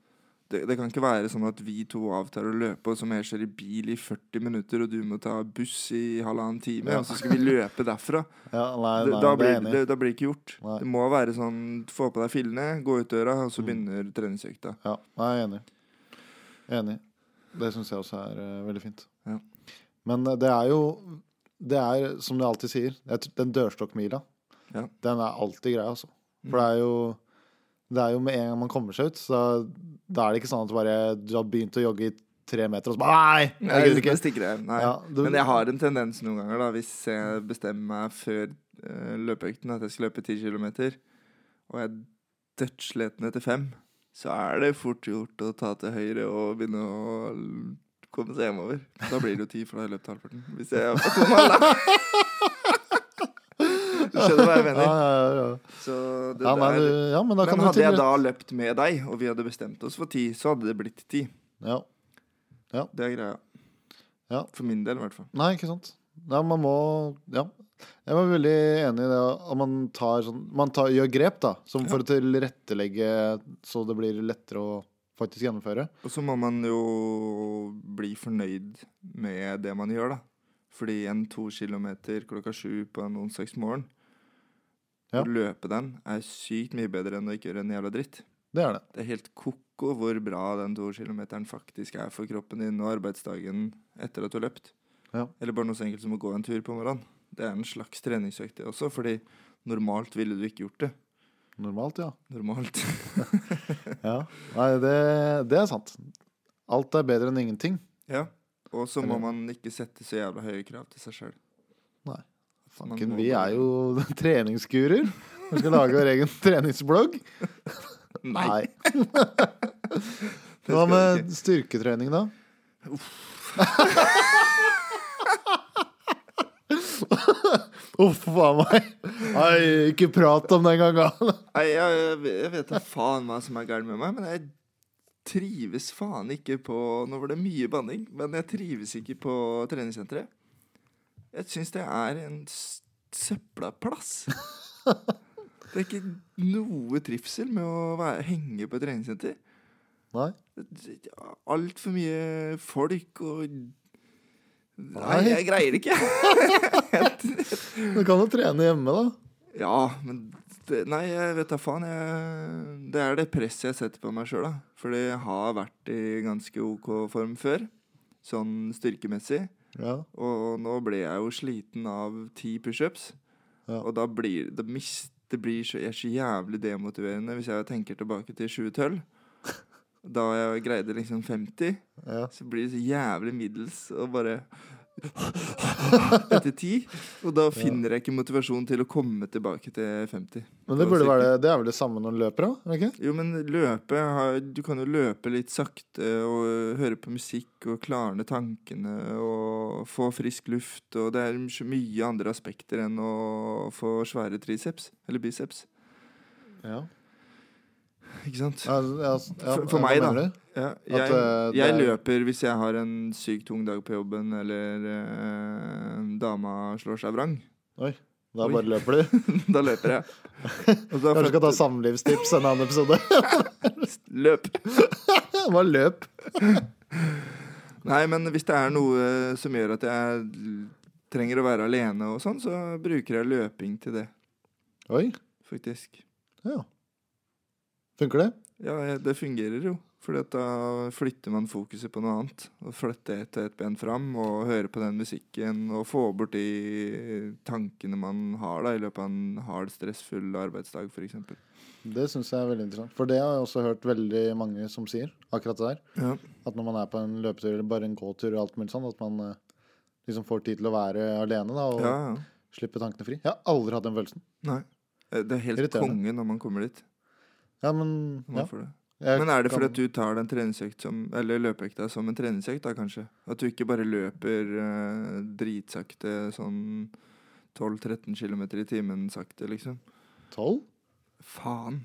Speaker 2: det, det kan ikke være sånn at vi to avtaler å løpe, og så må jeg kjøre bil i 40 minutter, og du må ta buss i halvannen time,
Speaker 1: Ja.
Speaker 2: og så skal vi løpe derfra.
Speaker 1: Ja, nei,
Speaker 2: Det-
Speaker 1: nei,
Speaker 2: da,
Speaker 1: det er
Speaker 2: blir,
Speaker 1: jeg enig. i.
Speaker 2: det, da blir det ikke gjort.
Speaker 1: Nei.
Speaker 2: Det må være sånn få på deg fillene, gå ut døra, og så
Speaker 1: Mm.
Speaker 2: begynner treningsøkta.
Speaker 1: Ja, nei, jeg er enig. Enig. Det syns jeg også er eh, veldig fint.
Speaker 2: Ja.
Speaker 1: Men eh, det er jo Det er som du alltid sier, jeg tr- den dørstokkmila,
Speaker 2: Ja.
Speaker 1: den er alltid greia, altså.
Speaker 2: Mm.
Speaker 1: For det er jo Det er jo med en gang man kommer seg ut, så da er det ikke sånn at du bare du har begynt å jogge i tre meter, og så bare Nei!
Speaker 2: Nei,
Speaker 1: Jeg gidder
Speaker 2: det
Speaker 1: ikke.
Speaker 2: stikker jeg. Nei.
Speaker 1: Ja, du,
Speaker 2: Men jeg har en tendens noen ganger, da, hvis jeg bestemmer meg før eh, løpeøkten at jeg skal løpe 10 km, og jeg er dødssliten etter 5, så er det fort gjort å ta til høyre og begynne å l- komme seg hjemover. Da blir det jo 10, for da har jeg løpt halvparten. Hvis jeg har
Speaker 1: <laughs>
Speaker 2: fått med meg Du skjønner hva
Speaker 1: <laughs>
Speaker 2: jeg
Speaker 1: ja,
Speaker 2: mener.
Speaker 1: ja, ja, ja.
Speaker 2: Så det
Speaker 1: Ja, nei,
Speaker 2: der
Speaker 1: du, ja, men da kan
Speaker 2: Men
Speaker 1: du
Speaker 2: hadde jeg
Speaker 1: til-
Speaker 2: da løpt med deg, og vi hadde bestemt oss for ti, så hadde det blitt ti.
Speaker 1: ja.
Speaker 2: Det er greia.
Speaker 1: Ja.
Speaker 2: For min del, i hvert fall.
Speaker 1: Nei, ikke sant. Nei, man må Ja. Jeg var veldig enig i det at man, tar, sånn, man tar, gjør grep, da, som for å tilrettelegge så det blir lettere å faktisk gjennomføre.
Speaker 2: Og så må man jo bli fornøyd med det man gjør, da. Fordi en to kilometer klokka sju på en onsdagsmorgen
Speaker 1: Ja.
Speaker 2: Å løpe den er sykt mye bedre enn å ikke gjøre en jævla dritt.
Speaker 1: Det er det.
Speaker 2: Det er helt koko hvor bra den to kilometeren faktisk er for kroppen din og arbeidsdagen etter at du har løpt.
Speaker 1: Ja.
Speaker 2: Eller bare noe så enkelt som å gå en tur på morgenen. Det er en slags treningsøkt det også, fordi normalt ville du ikke gjort det.
Speaker 1: Normalt, ja.
Speaker 2: Normalt. <laughs>
Speaker 1: ja. Nei, det, det er sant. Alt er bedre enn ingenting.
Speaker 2: ja. Og så må
Speaker 1: Eller-
Speaker 2: man ikke sette så jævla høye krav til seg sjøl.
Speaker 1: Nei. Fanken, vi er jo <laughs> treningsgurer. Vi skal lage vår egen treningsblogg.
Speaker 2: Nei! <laughs> det
Speaker 1: Hva
Speaker 2: skal vi
Speaker 1: med
Speaker 2: ikke.
Speaker 1: styrketrening, da? Uff a meg. Nei, ikke prat om det engang. da.
Speaker 2: Nei, jeg, jeg vet- jeg vet da faen hva som er gærent med meg, men jeg trives faen ikke på Nå var det mye banning, men jeg trives ikke på treningssenteret. Jeg syns det er en s- søpla plass. Det er ikke noe trivsel med å være, henge på et treningssenter.
Speaker 1: Nei.
Speaker 2: Altfor mye folk og Nei,
Speaker 1: Nei.
Speaker 2: jeg greier det ikke.
Speaker 1: Du kan jo trene hjemme, da.
Speaker 2: Ja, men det, Nei, jeg vet da faen. Jeg, det er det presset jeg setter på meg sjøl, da. Fordi jeg har vært i ganske OK form før, sånn styrkemessig.
Speaker 1: Ja.
Speaker 2: Og nå ble jeg jo sliten av ti pushups.
Speaker 1: Ja.
Speaker 2: Og da blir det, mis, det blir så, er så jævlig demotiverende hvis jeg tenker tilbake til 2012. Da jeg greide liksom 50,
Speaker 1: ja.
Speaker 2: så blir det så jævlig middels og bare Etter ti. Og da finner jeg ikke motivasjon til å komme tilbake til 50.
Speaker 1: Men det, burde være, det- det er vel det samme når du løper, da? er det Ikke?
Speaker 2: Jo, men løpe har- Du kan jo løpe litt sakte og høre på musikk og klarne tankene og få frisk luft, og det er så mye andre aspekter enn å få svære triceps eller biceps.
Speaker 1: Ja.
Speaker 2: Ikke sant?
Speaker 1: Ja, ja, ja,
Speaker 2: For- for
Speaker 1: hva
Speaker 2: meg, da.
Speaker 1: mener du?
Speaker 2: Ja, jeg,
Speaker 1: eh, det
Speaker 2: jeg
Speaker 1: er-
Speaker 2: løper hvis jeg har en sykt tung dag på jobben, eller eh, dama slår seg vrang.
Speaker 1: Da
Speaker 2: Oi.
Speaker 1: bare løper
Speaker 2: <laughs>
Speaker 1: du.
Speaker 2: da løper jeg. Og så
Speaker 1: Kanskje du skal ta samlivstips en annen episode. <laughs>
Speaker 2: løp.
Speaker 1: Bare løp.
Speaker 2: Nei, men hvis det er noe eh, som gjør at jeg trenger å være alene og sånn, så bruker jeg løping til det,
Speaker 1: Oi.
Speaker 2: faktisk.
Speaker 1: Ja. Funker det?
Speaker 2: Ja, jeg- det fungerer jo. For da flytter man fokuset på noe annet. Og flytter ett og ett ben fram og hører på den musikken og får bort de tankene man har da i løpet av en hard, stressfull arbeidsdag, f.eks.
Speaker 1: Det syns jeg er veldig interessant. For det har jeg også hørt veldig mange som sier. Akkurat det der.
Speaker 2: Ja.
Speaker 1: At når man er på en løpetur eller bare en gåtur og alt mulig sånn, at man eh, liksom får tid til å være alene da, og
Speaker 2: ja, ja.
Speaker 1: slippe tankene fri. Jeg har aldri hatt den følelsen.
Speaker 2: Nei. Eh, Det er helt
Speaker 1: Irriterende.
Speaker 2: konge når man kommer dit.
Speaker 1: Ja, men
Speaker 2: Når man
Speaker 1: ja.
Speaker 2: får det.
Speaker 1: jeg
Speaker 2: Men er det
Speaker 1: kan-
Speaker 2: fordi at du tar den treningsøkt som, eller løpeøkta som en treningsøkt, da kanskje? At du ikke bare løper eh, dritsakte sånn 12-13 km i timen sakte, liksom?
Speaker 1: 12?
Speaker 2: Faen!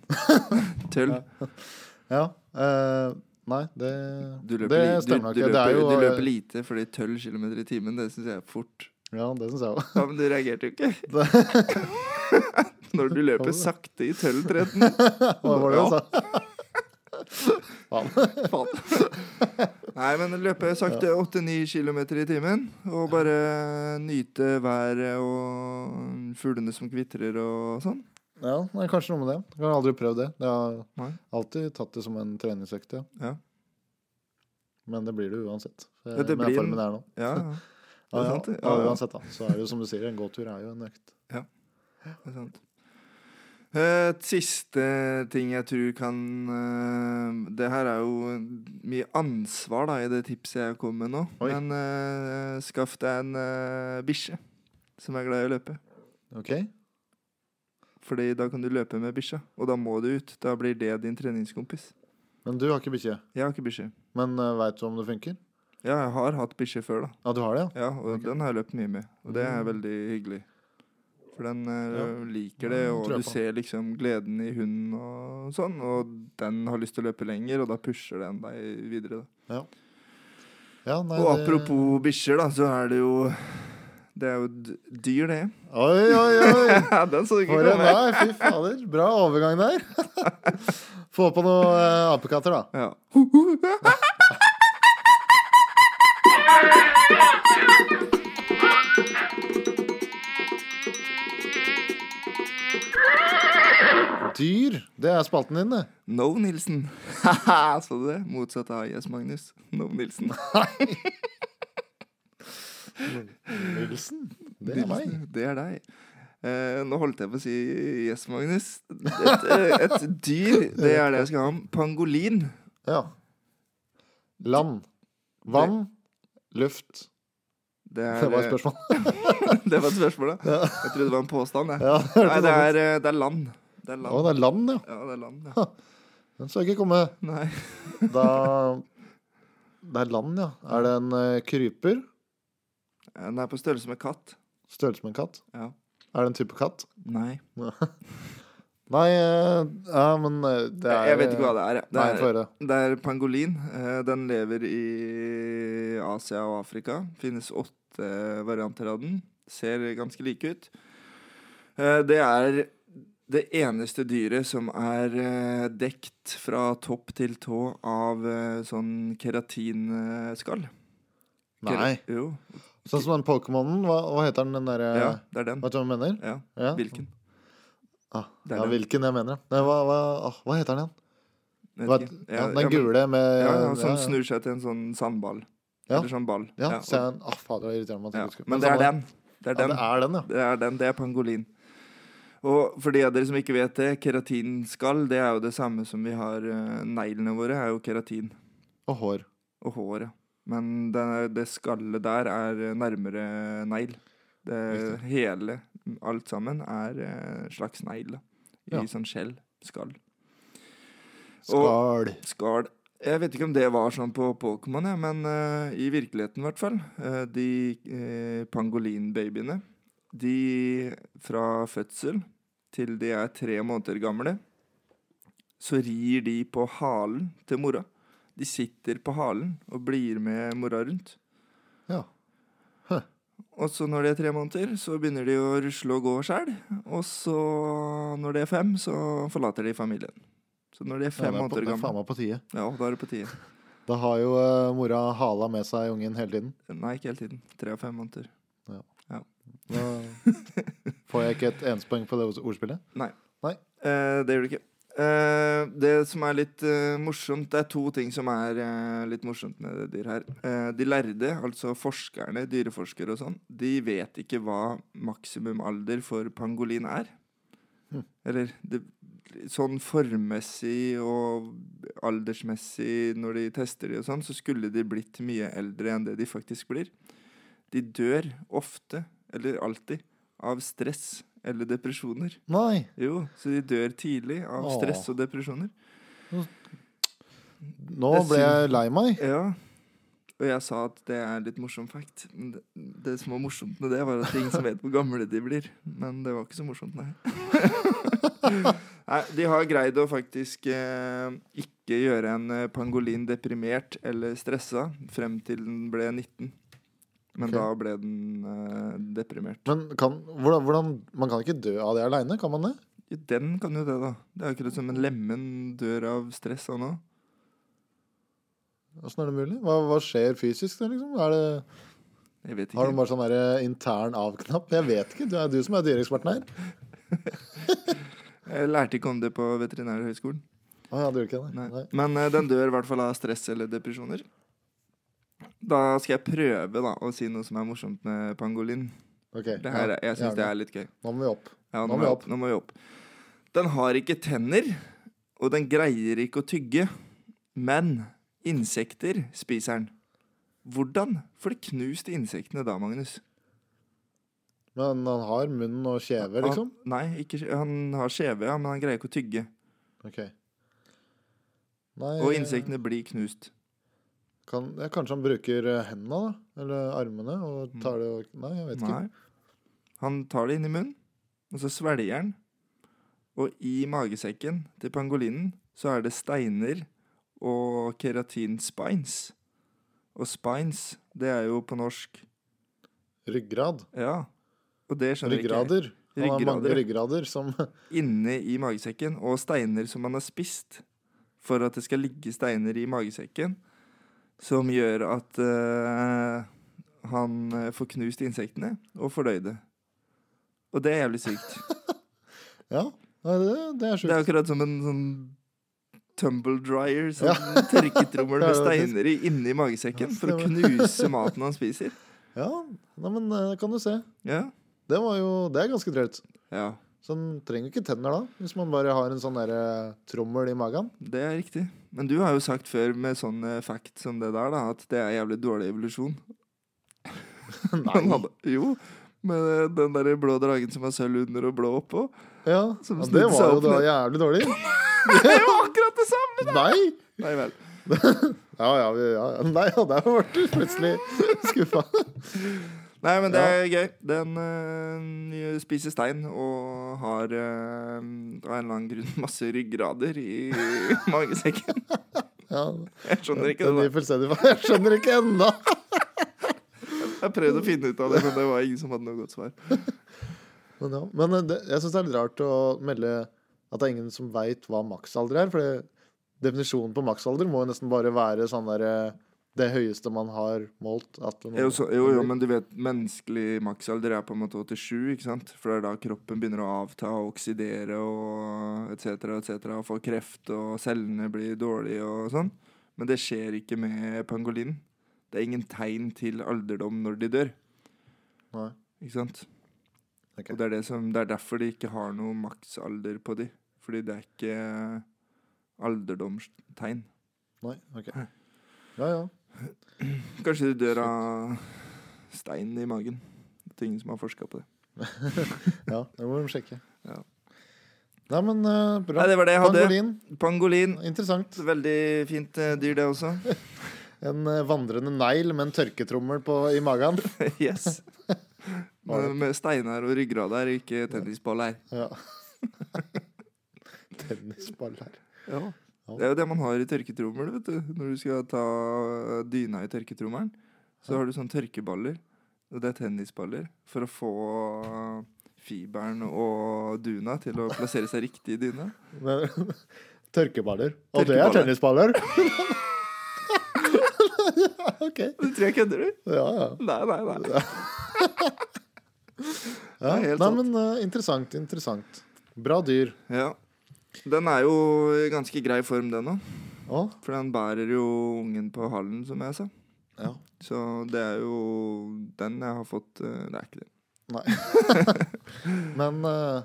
Speaker 2: <laughs> Tøll.
Speaker 1: Ja. eh, nei, det,
Speaker 2: Du løper,
Speaker 1: det
Speaker 2: li-
Speaker 1: stemmer
Speaker 2: du,
Speaker 1: ikke.
Speaker 2: du,
Speaker 1: Det
Speaker 2: løper,
Speaker 1: er jo eh,
Speaker 2: du løper lite, fordi 12 km i timen, det syns jeg er fort.
Speaker 1: Ja, det syns jeg òg.
Speaker 2: Ja, men du reagerte jo ikke. <laughs> Når du løper sakte i 12-13.
Speaker 1: <laughs> <laughs> Hva var det jeg
Speaker 2: Ja.
Speaker 1: sa? Faen.
Speaker 2: Faen. <laughs> Nei, men løpe sakte 8-9 km i timen. Og bare nyte været og fuglene som kvitrer og sånn.
Speaker 1: Ja, det er kanskje noe med det. Jeg har aldri prøvd det. Jeg har
Speaker 2: Nei.
Speaker 1: alltid tatt det som en treningsøkt, ja.
Speaker 2: Ja.
Speaker 1: Men det blir det uansett.
Speaker 2: Ja, det
Speaker 1: med den
Speaker 2: blir
Speaker 1: formen
Speaker 2: en-
Speaker 1: det er nå.
Speaker 2: Ja, ja. Det
Speaker 1: Ja,
Speaker 2: er
Speaker 1: ja,
Speaker 2: sant, det.
Speaker 1: ja,
Speaker 2: Ja, ja.
Speaker 1: uansett, da. Så er det jo som du sier, en gåtur er jo en økt.
Speaker 2: det er sant. Eh, siste ting jeg tror kan eh, Det her er jo mye ansvar da i det tipset jeg kom med nå.
Speaker 1: Oi.
Speaker 2: Men eh, skaff deg en eh, bikkje som er glad i å løpe.
Speaker 1: Ok?
Speaker 2: Fordi da kan du løpe med bikkja, og da må du ut. Da blir det din treningskompis.
Speaker 1: Men du har ikke bikkje.
Speaker 2: Jeg har ikke bikkje.
Speaker 1: Men uh, veit du om det funker?
Speaker 2: Ja, jeg har hatt bikkje før, da.
Speaker 1: Ja, du har det, ja?
Speaker 2: Ja, og
Speaker 1: Ok.
Speaker 2: den har jeg løpt mye med. Og det er
Speaker 1: Mm.
Speaker 2: veldig hyggelig. For den eh,
Speaker 1: Ja.
Speaker 2: liker
Speaker 1: Ja,
Speaker 2: det,
Speaker 1: det
Speaker 2: og
Speaker 1: tror jeg
Speaker 2: du
Speaker 1: på.
Speaker 2: ser liksom gleden i hunden og sånn. Og den har lyst til å løpe lenger, og da pusher den deg videre. Da.
Speaker 1: ja nei,
Speaker 2: Og
Speaker 1: det-
Speaker 2: apropos bikkjer, da, så er det jo Det er jo d- dyr, det. <laughs>
Speaker 1: Oi, oi, oi!
Speaker 2: den så du ikke
Speaker 1: For en
Speaker 2: komme.
Speaker 1: nei, fy fader. Bra overgang
Speaker 2: <laughs>
Speaker 1: der. Få på noen eh, apekatter, da.
Speaker 2: Ja.
Speaker 1: Dyr, det er spalten din, det.
Speaker 2: No <laughs> Nilsen. så du det? Motsatt av Yes Magnus. No Nilsen.
Speaker 1: Nilsen. Det er meg.
Speaker 2: Nilsen, Det er deg. Eh, nå holdt jeg på å si yes, Magnus. Et, eh, et dyr, det er det jeg skal ha om. Pangolin.
Speaker 1: Ja. Land. Vann. Luft.
Speaker 2: Det, er,
Speaker 1: Det var et spørsmål. <laughs>
Speaker 2: <laughs> det var et spørsmål, da.
Speaker 1: Ja.
Speaker 2: Jeg trodde det var en påstand. Jeg.
Speaker 1: Ja, det
Speaker 2: Nei,
Speaker 1: hørtes
Speaker 2: det
Speaker 1: sånn ut.
Speaker 2: er, eh, det er land. Det er
Speaker 1: Å,
Speaker 2: land.
Speaker 1: det er land, ja.
Speaker 2: Ja, det er land. Ja.
Speaker 1: Den skal ikke komme.
Speaker 2: Nei.
Speaker 1: Da Det er land, ja. Er det en eh, kryper?
Speaker 2: Eh, Den er på størrelse med katt.
Speaker 1: Størrelse med en katt?
Speaker 2: Ja.
Speaker 1: Er det en type katt? <laughs>
Speaker 2: Nei.
Speaker 1: Nei, eh, ja, men eh, det er
Speaker 2: Jeg vet ikke hva det er. jeg.
Speaker 1: Nei, få
Speaker 2: Det er,
Speaker 1: høre.
Speaker 2: det er pangolin. Eh, Den lever i Asia og Afrika. Finnes åtte varianter av den. Ser ganske like ut. Eh, Det er det eneste dyret som er eh, dekt fra topp til tå av eh, sånn keratinskall. Kera-
Speaker 1: Nei.
Speaker 2: Jo.
Speaker 1: Sånn som den Pokémonen, hva, hva heter den, den derre
Speaker 2: Ja, det er den.
Speaker 1: Vet du Eh. hva jeg mener?
Speaker 2: Ja,
Speaker 1: Ja.
Speaker 2: Hvilken?
Speaker 1: Ah,
Speaker 2: Det er
Speaker 1: ja,
Speaker 2: den.
Speaker 1: hvilken jeg mener. ja. Nei, hva, hva, ah, hva heter den igjen? Hva-
Speaker 2: Vet ikke.
Speaker 1: Ja,
Speaker 2: ja,
Speaker 1: den
Speaker 2: men-
Speaker 1: gule med
Speaker 2: Ja, ja,
Speaker 1: ja,
Speaker 2: som
Speaker 1: ja.
Speaker 2: snur seg til en sånn sandball.
Speaker 1: Ja.
Speaker 2: Eller sånn ball.
Speaker 1: Ja,
Speaker 2: Ja,
Speaker 1: ser
Speaker 2: og-
Speaker 1: jeg den. Ah, fader, det irriterer meg. at jeg
Speaker 2: ja.
Speaker 1: ikke husker.
Speaker 2: Men det er
Speaker 1: samme-
Speaker 2: den. Det er
Speaker 1: Ja,
Speaker 2: den.
Speaker 1: det er den, ja.
Speaker 2: Det er den, det er pangolin. Og for de av dere som ikke vet det, keratinskall det er jo det samme som vi har eh, Neglene våre er jo keratin.
Speaker 1: Og hår.
Speaker 2: Og håret. Men det, det skallet der er eh, nærmere negl. Det hele, alt sammen, er eh, slags negl. da.
Speaker 1: Ja.
Speaker 2: I sånn skjell. Skall.
Speaker 1: Skål.
Speaker 2: Skål. Jeg vet ikke om det var sånn på Pokémon, jeg, men eh, i virkeligheten i hvert fall. eh, de eh, pangolinbabyene, de fra fødsel til de er tre måneder gamle, så rir de på halen til mora. De sitter på halen og blir med mora rundt.
Speaker 1: Ja.
Speaker 2: Og så når de er tre måneder, så begynner de å rusle og gå sjøl. Og så, når de er fem, så forlater de familien. Så når de er
Speaker 1: ja
Speaker 2: fem
Speaker 1: det, er på,
Speaker 2: måneder
Speaker 1: det er faen
Speaker 2: gamle
Speaker 1: meg på tide.
Speaker 2: Ja, da er det på tide.
Speaker 1: Da har jo eh, mora hala med seg ungen hele tiden.
Speaker 2: Nei, ikke hele tiden. Tre og fem måneder.
Speaker 1: Da
Speaker 2: <laughs>
Speaker 1: får jeg ikke et eneste poeng på det ords- ordspillet.
Speaker 2: Eh, det gjør det ikke. Eh, det som er litt eh, morsomt Det er to ting som er eh, litt morsomt med dyr her. Eh, de lærde, altså forskerne, dyreforskere og sånn, de vet ikke hva maksimum alder for pangolin er. Eller det, sånn formmessig og aldersmessig når de tester de og sånn, så skulle de blitt mye eldre enn det de faktisk blir. De dør ofte, eller alltid, av stress eller depresjoner.
Speaker 1: Nei!
Speaker 2: Jo, så de dør tidlig av
Speaker 1: Åh.
Speaker 2: stress og depresjoner.
Speaker 1: Nå
Speaker 2: Det er
Speaker 1: ble jeg lei meg.
Speaker 2: Ja. Og jeg sa at det er litt morsom fact. Men det, det som var morsomt med det, var at det er ingen som vet hvor gamle de blir. Men det var ikke så morsomt,
Speaker 1: <laughs>
Speaker 2: nei. nei de har greid å faktisk eh, ikke gjøre en eh, pangolin deprimert eller stressa frem til den ble 19. Men
Speaker 1: Ok.
Speaker 2: da ble den eh, deprimert.
Speaker 1: Men kan, hvordan, hvordan, man kan ikke dø av det aleine, kan man det?
Speaker 2: Jo, Den kan jo det, da. Det er akkurat som en lemen dør av stress, han òg.
Speaker 1: Åssen er det mulig? Hva, hva skjer fysisk? da, Liksom? Er det,
Speaker 2: Jeg vet ikke.
Speaker 1: har du bare sånn der intern av-knapp? Jeg vet ikke. Det er du som er dyreeksperten her.
Speaker 2: Jeg lærte ikke om det på Veterinærhøgskolen.
Speaker 1: Å ja, du gjør ikke det?
Speaker 2: Nei.
Speaker 1: Nei.
Speaker 2: Men eh, den dør i hvert fall av stress eller depresjoner. Da skal jeg prøve da, å si noe som er morsomt med pangolin.
Speaker 1: Ok,
Speaker 2: Det her,
Speaker 1: ja,
Speaker 2: er- jeg syns det
Speaker 1: gjerne.
Speaker 2: er litt gøy.
Speaker 1: Nå må vi opp.
Speaker 2: Ja,
Speaker 1: Nå må
Speaker 2: nå,
Speaker 1: vi
Speaker 2: må
Speaker 1: opp.
Speaker 2: opp. nå må vi opp. Den har ikke tenner, og den greier ikke å tygge. Men insekter spiser den. Hvordan får de knust insektene da, Magnus?
Speaker 1: Men han har munnen og kjeve, liksom?
Speaker 2: Han, nei, ikke, han har skjeve, ja, men han greier ikke å tygge.
Speaker 1: Ok. Nei,
Speaker 2: Og insektene blir knust.
Speaker 1: Kan, ja, kanskje han bruker eh, hendene, da? Eller armene? Og tar det og Nei, jeg vet ikke.
Speaker 2: Mm. Nei. Han tar det inn i munnen, og så svelger han. Og i magesekken til pangolinen så er det steiner og keratinspines. Og spines, det er jo på norsk
Speaker 1: Ryggrad.
Speaker 2: Ja. Og det skjønner jeg ikke
Speaker 1: Ryggrader. Han har mange ryggrader som <laughs>
Speaker 2: jeg. Inne i magesekken, og steiner som man har spist. For at det skal ligge steiner i magesekken som gjør at eh, han eh, får knust insektene og fordøyde. Og det er jævlig sykt.
Speaker 1: Ja, nei, det, det er
Speaker 2: Det er
Speaker 1: sjukt.
Speaker 2: akkurat som en sånn tumble dryer. Sånn
Speaker 1: Ja.
Speaker 2: <laughs> tørketrommel
Speaker 1: Ja,
Speaker 2: med
Speaker 1: det er faktisk-
Speaker 2: steiner i inni magesekken
Speaker 1: Ja,
Speaker 2: for å
Speaker 1: stemmer. <laughs>
Speaker 2: knuse maten han spiser.
Speaker 1: Ja, nei, men eh, kan du se.
Speaker 2: Ja.
Speaker 1: Det var jo Det er ganske drøyt.
Speaker 2: ja,
Speaker 1: Så han trenger ikke tenner da, hvis man bare har en sånn der eh, trommel i magen. <laughs>
Speaker 2: det er riktig. Men du har jo sagt før med sånn eh, fact som det der, da, at det er jævlig dårlig evolusjon. <laughs> Han
Speaker 1: Nei.
Speaker 2: hadde, jo, med eh, den der blå dragen som har sølv under og blå
Speaker 1: <laughs>
Speaker 2: oppå.
Speaker 1: Ja,
Speaker 2: <laughs> Som
Speaker 1: ja, det
Speaker 2: snudde seg
Speaker 1: var jo
Speaker 2: opp
Speaker 1: da
Speaker 2: ned.
Speaker 1: jævlig dårlig.
Speaker 2: <laughs> Det er jo akkurat det samme!
Speaker 1: Nei!
Speaker 2: Nei vel.
Speaker 1: Ja, ja, vi- ja. ja. Nei, ja, der ble du plutselig <laughs> skuffa.
Speaker 2: Nei, men det er gøy. Den eh, spiser stein og har eh, av en eller annen grunn masse ryggrader i <laughs> magesekken.
Speaker 1: Ja,
Speaker 2: Jeg skjønner ikke
Speaker 1: den
Speaker 2: det.
Speaker 1: gir fullstendig faen. <laughs> Jeg skjønner ikke ennå.
Speaker 2: da. Jeg prøvde å finne ut av det, men det var ingen som hadde noe godt svar.
Speaker 1: Men, ja. men eh, det, jeg syns det er litt rart å melde at det er ingen som veit hva maksalder er. For det, definisjonen på maksalder må jo nesten bare være sånn der eh, det høyeste man har målt. At noe-
Speaker 2: Jo, så, jo, jo, men du vet, menneskelig maksalder er på en måte 87, ikke sant? For det er da kroppen begynner å avta og oksidere og et cetera, et cetera, og få kreft, og cellene blir dårlige og sånn. Men det skjer ikke med pangolinen. Det er ingen tegn til alderdom når de dør.
Speaker 1: Nei.
Speaker 2: Ikke sant?
Speaker 1: Ok.
Speaker 2: Og det er, det, som, det er derfor de ikke har noe maksalder på de. Fordi det er ikke alderdomstegn.
Speaker 1: Nei, ok. Ja, ja.
Speaker 2: Kanskje de dør av stein i magen. Det er ingen som har forska på det.
Speaker 1: ja det må de sjekke.
Speaker 2: Ja.
Speaker 1: Nei, men eh, bra.
Speaker 2: Nei, det var det jeg hadde.
Speaker 1: Pangolin.
Speaker 2: Pangolin.
Speaker 1: Interessant.
Speaker 2: Veldig fint eh, dyr, det også. <laughs>
Speaker 1: En eh, vandrende negl med en tørketrommel på, i magen.
Speaker 2: <laughs> Yes. Med, med steiner og
Speaker 1: <laughs>
Speaker 2: ryggrader, ikke tennisballer.
Speaker 1: Ja. Tennisball her.
Speaker 2: Ja. Det er jo det man har i tørketrommel. vet du Når du skal ta eh, dyna i tørketrommelen, så har du sånne tørkeballer. Og det er tennisballer. For å få eh, fiberen og duna til å plassere seg riktig i dyna.
Speaker 1: Men, <laughs> tørkeballer. Og det
Speaker 2: Tørkeballer.
Speaker 1: er tennisballer!
Speaker 2: <laughs>
Speaker 1: OK.
Speaker 2: Du tror jeg kødder, du?
Speaker 1: Ja, ja.
Speaker 2: Nei, nei, nei.
Speaker 1: ja.
Speaker 2: Det er helt
Speaker 1: Nei,
Speaker 2: sant.
Speaker 1: men eh, interessant, interessant. Bra dyr.
Speaker 2: Ja. Den er jo i ganske grei form, den òg.
Speaker 1: Å,
Speaker 2: For den bærer jo ungen på halen, som jeg sa.
Speaker 1: ja.
Speaker 2: Så det er jo den jeg har fått eh, Det er ikke det.
Speaker 1: Men eh,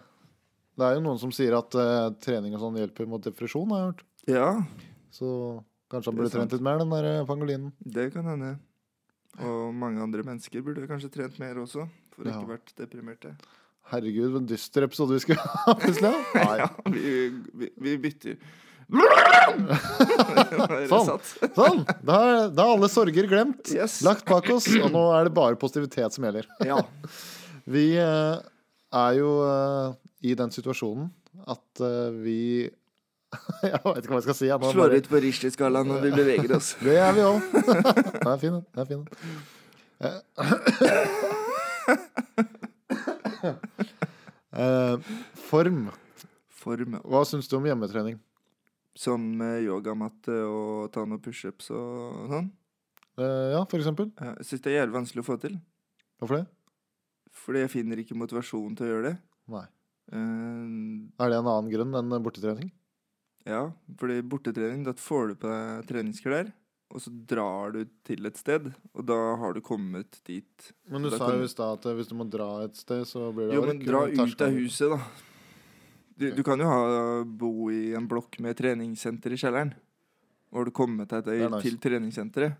Speaker 1: det er jo noen som sier at eh, trening og sånn hjelper mot depresjon, har jeg hørt.
Speaker 2: Ja,
Speaker 1: Så kanskje han
Speaker 2: Det er
Speaker 1: burde trent litt mer, den der eh, pangolinen.
Speaker 2: Det kan hende. Og mange andre mennesker burde kanskje trent mer også, for
Speaker 1: Ja.
Speaker 2: ikke vært deprimerte.
Speaker 1: Herregud, for en dyster episode vi skulle <laughs> ha plutselig. Nei.
Speaker 2: Ja, vi, vi, vi bytter.
Speaker 1: <laughs> Sånn.
Speaker 2: sånn. Satt.
Speaker 1: Sånn! Da er, da er alle sorger glemt.
Speaker 2: Yes.
Speaker 1: Lagt bak oss, og nå er det bare positivitet som gjelder.
Speaker 2: Ja.
Speaker 1: Vi eh, er jo eh, i den situasjonen at eh, vi <laughs> Jeg vet ikke hva jeg skal si. Jeg nå
Speaker 2: Slår
Speaker 1: bare-
Speaker 2: ut på Risley-skalaen når vi beveger oss.
Speaker 1: Det er vi <laughs> òg. Den er fin, den. den. er fin, den. Eh, <coughs> eh, Form.
Speaker 2: Form ja.
Speaker 1: Hva syns du om hjemmetrening?
Speaker 2: som eh, yogamatte og ta noen pushups og sånn.
Speaker 1: Eh, ja, for eksempel.
Speaker 2: Jeg syns det er jævlig vanskelig å få til,
Speaker 1: Hvorfor det?
Speaker 2: fordi jeg finner ikke motivasjon til å gjøre det.
Speaker 1: Nei.
Speaker 2: Eh,
Speaker 1: Er det en annen grunn enn bortetrening?
Speaker 2: Ja, fordi bortetrening, da får du på deg treningsklær, og så drar du til et sted, og da har du kommet dit.
Speaker 1: Men du
Speaker 2: Da
Speaker 1: sa
Speaker 2: kan-
Speaker 1: jo i stad at eh, hvis du må dra et sted, så blir det
Speaker 2: Jo, men
Speaker 1: ork,
Speaker 2: dra
Speaker 1: og
Speaker 2: ut av
Speaker 1: terskelen-
Speaker 2: huset, da. Du, du kan jo ha, bo i en blokk med treningssenter i kjelleren. Og har du kommet deg
Speaker 1: Det er
Speaker 2: til,
Speaker 1: nice.
Speaker 2: til treningssenteret,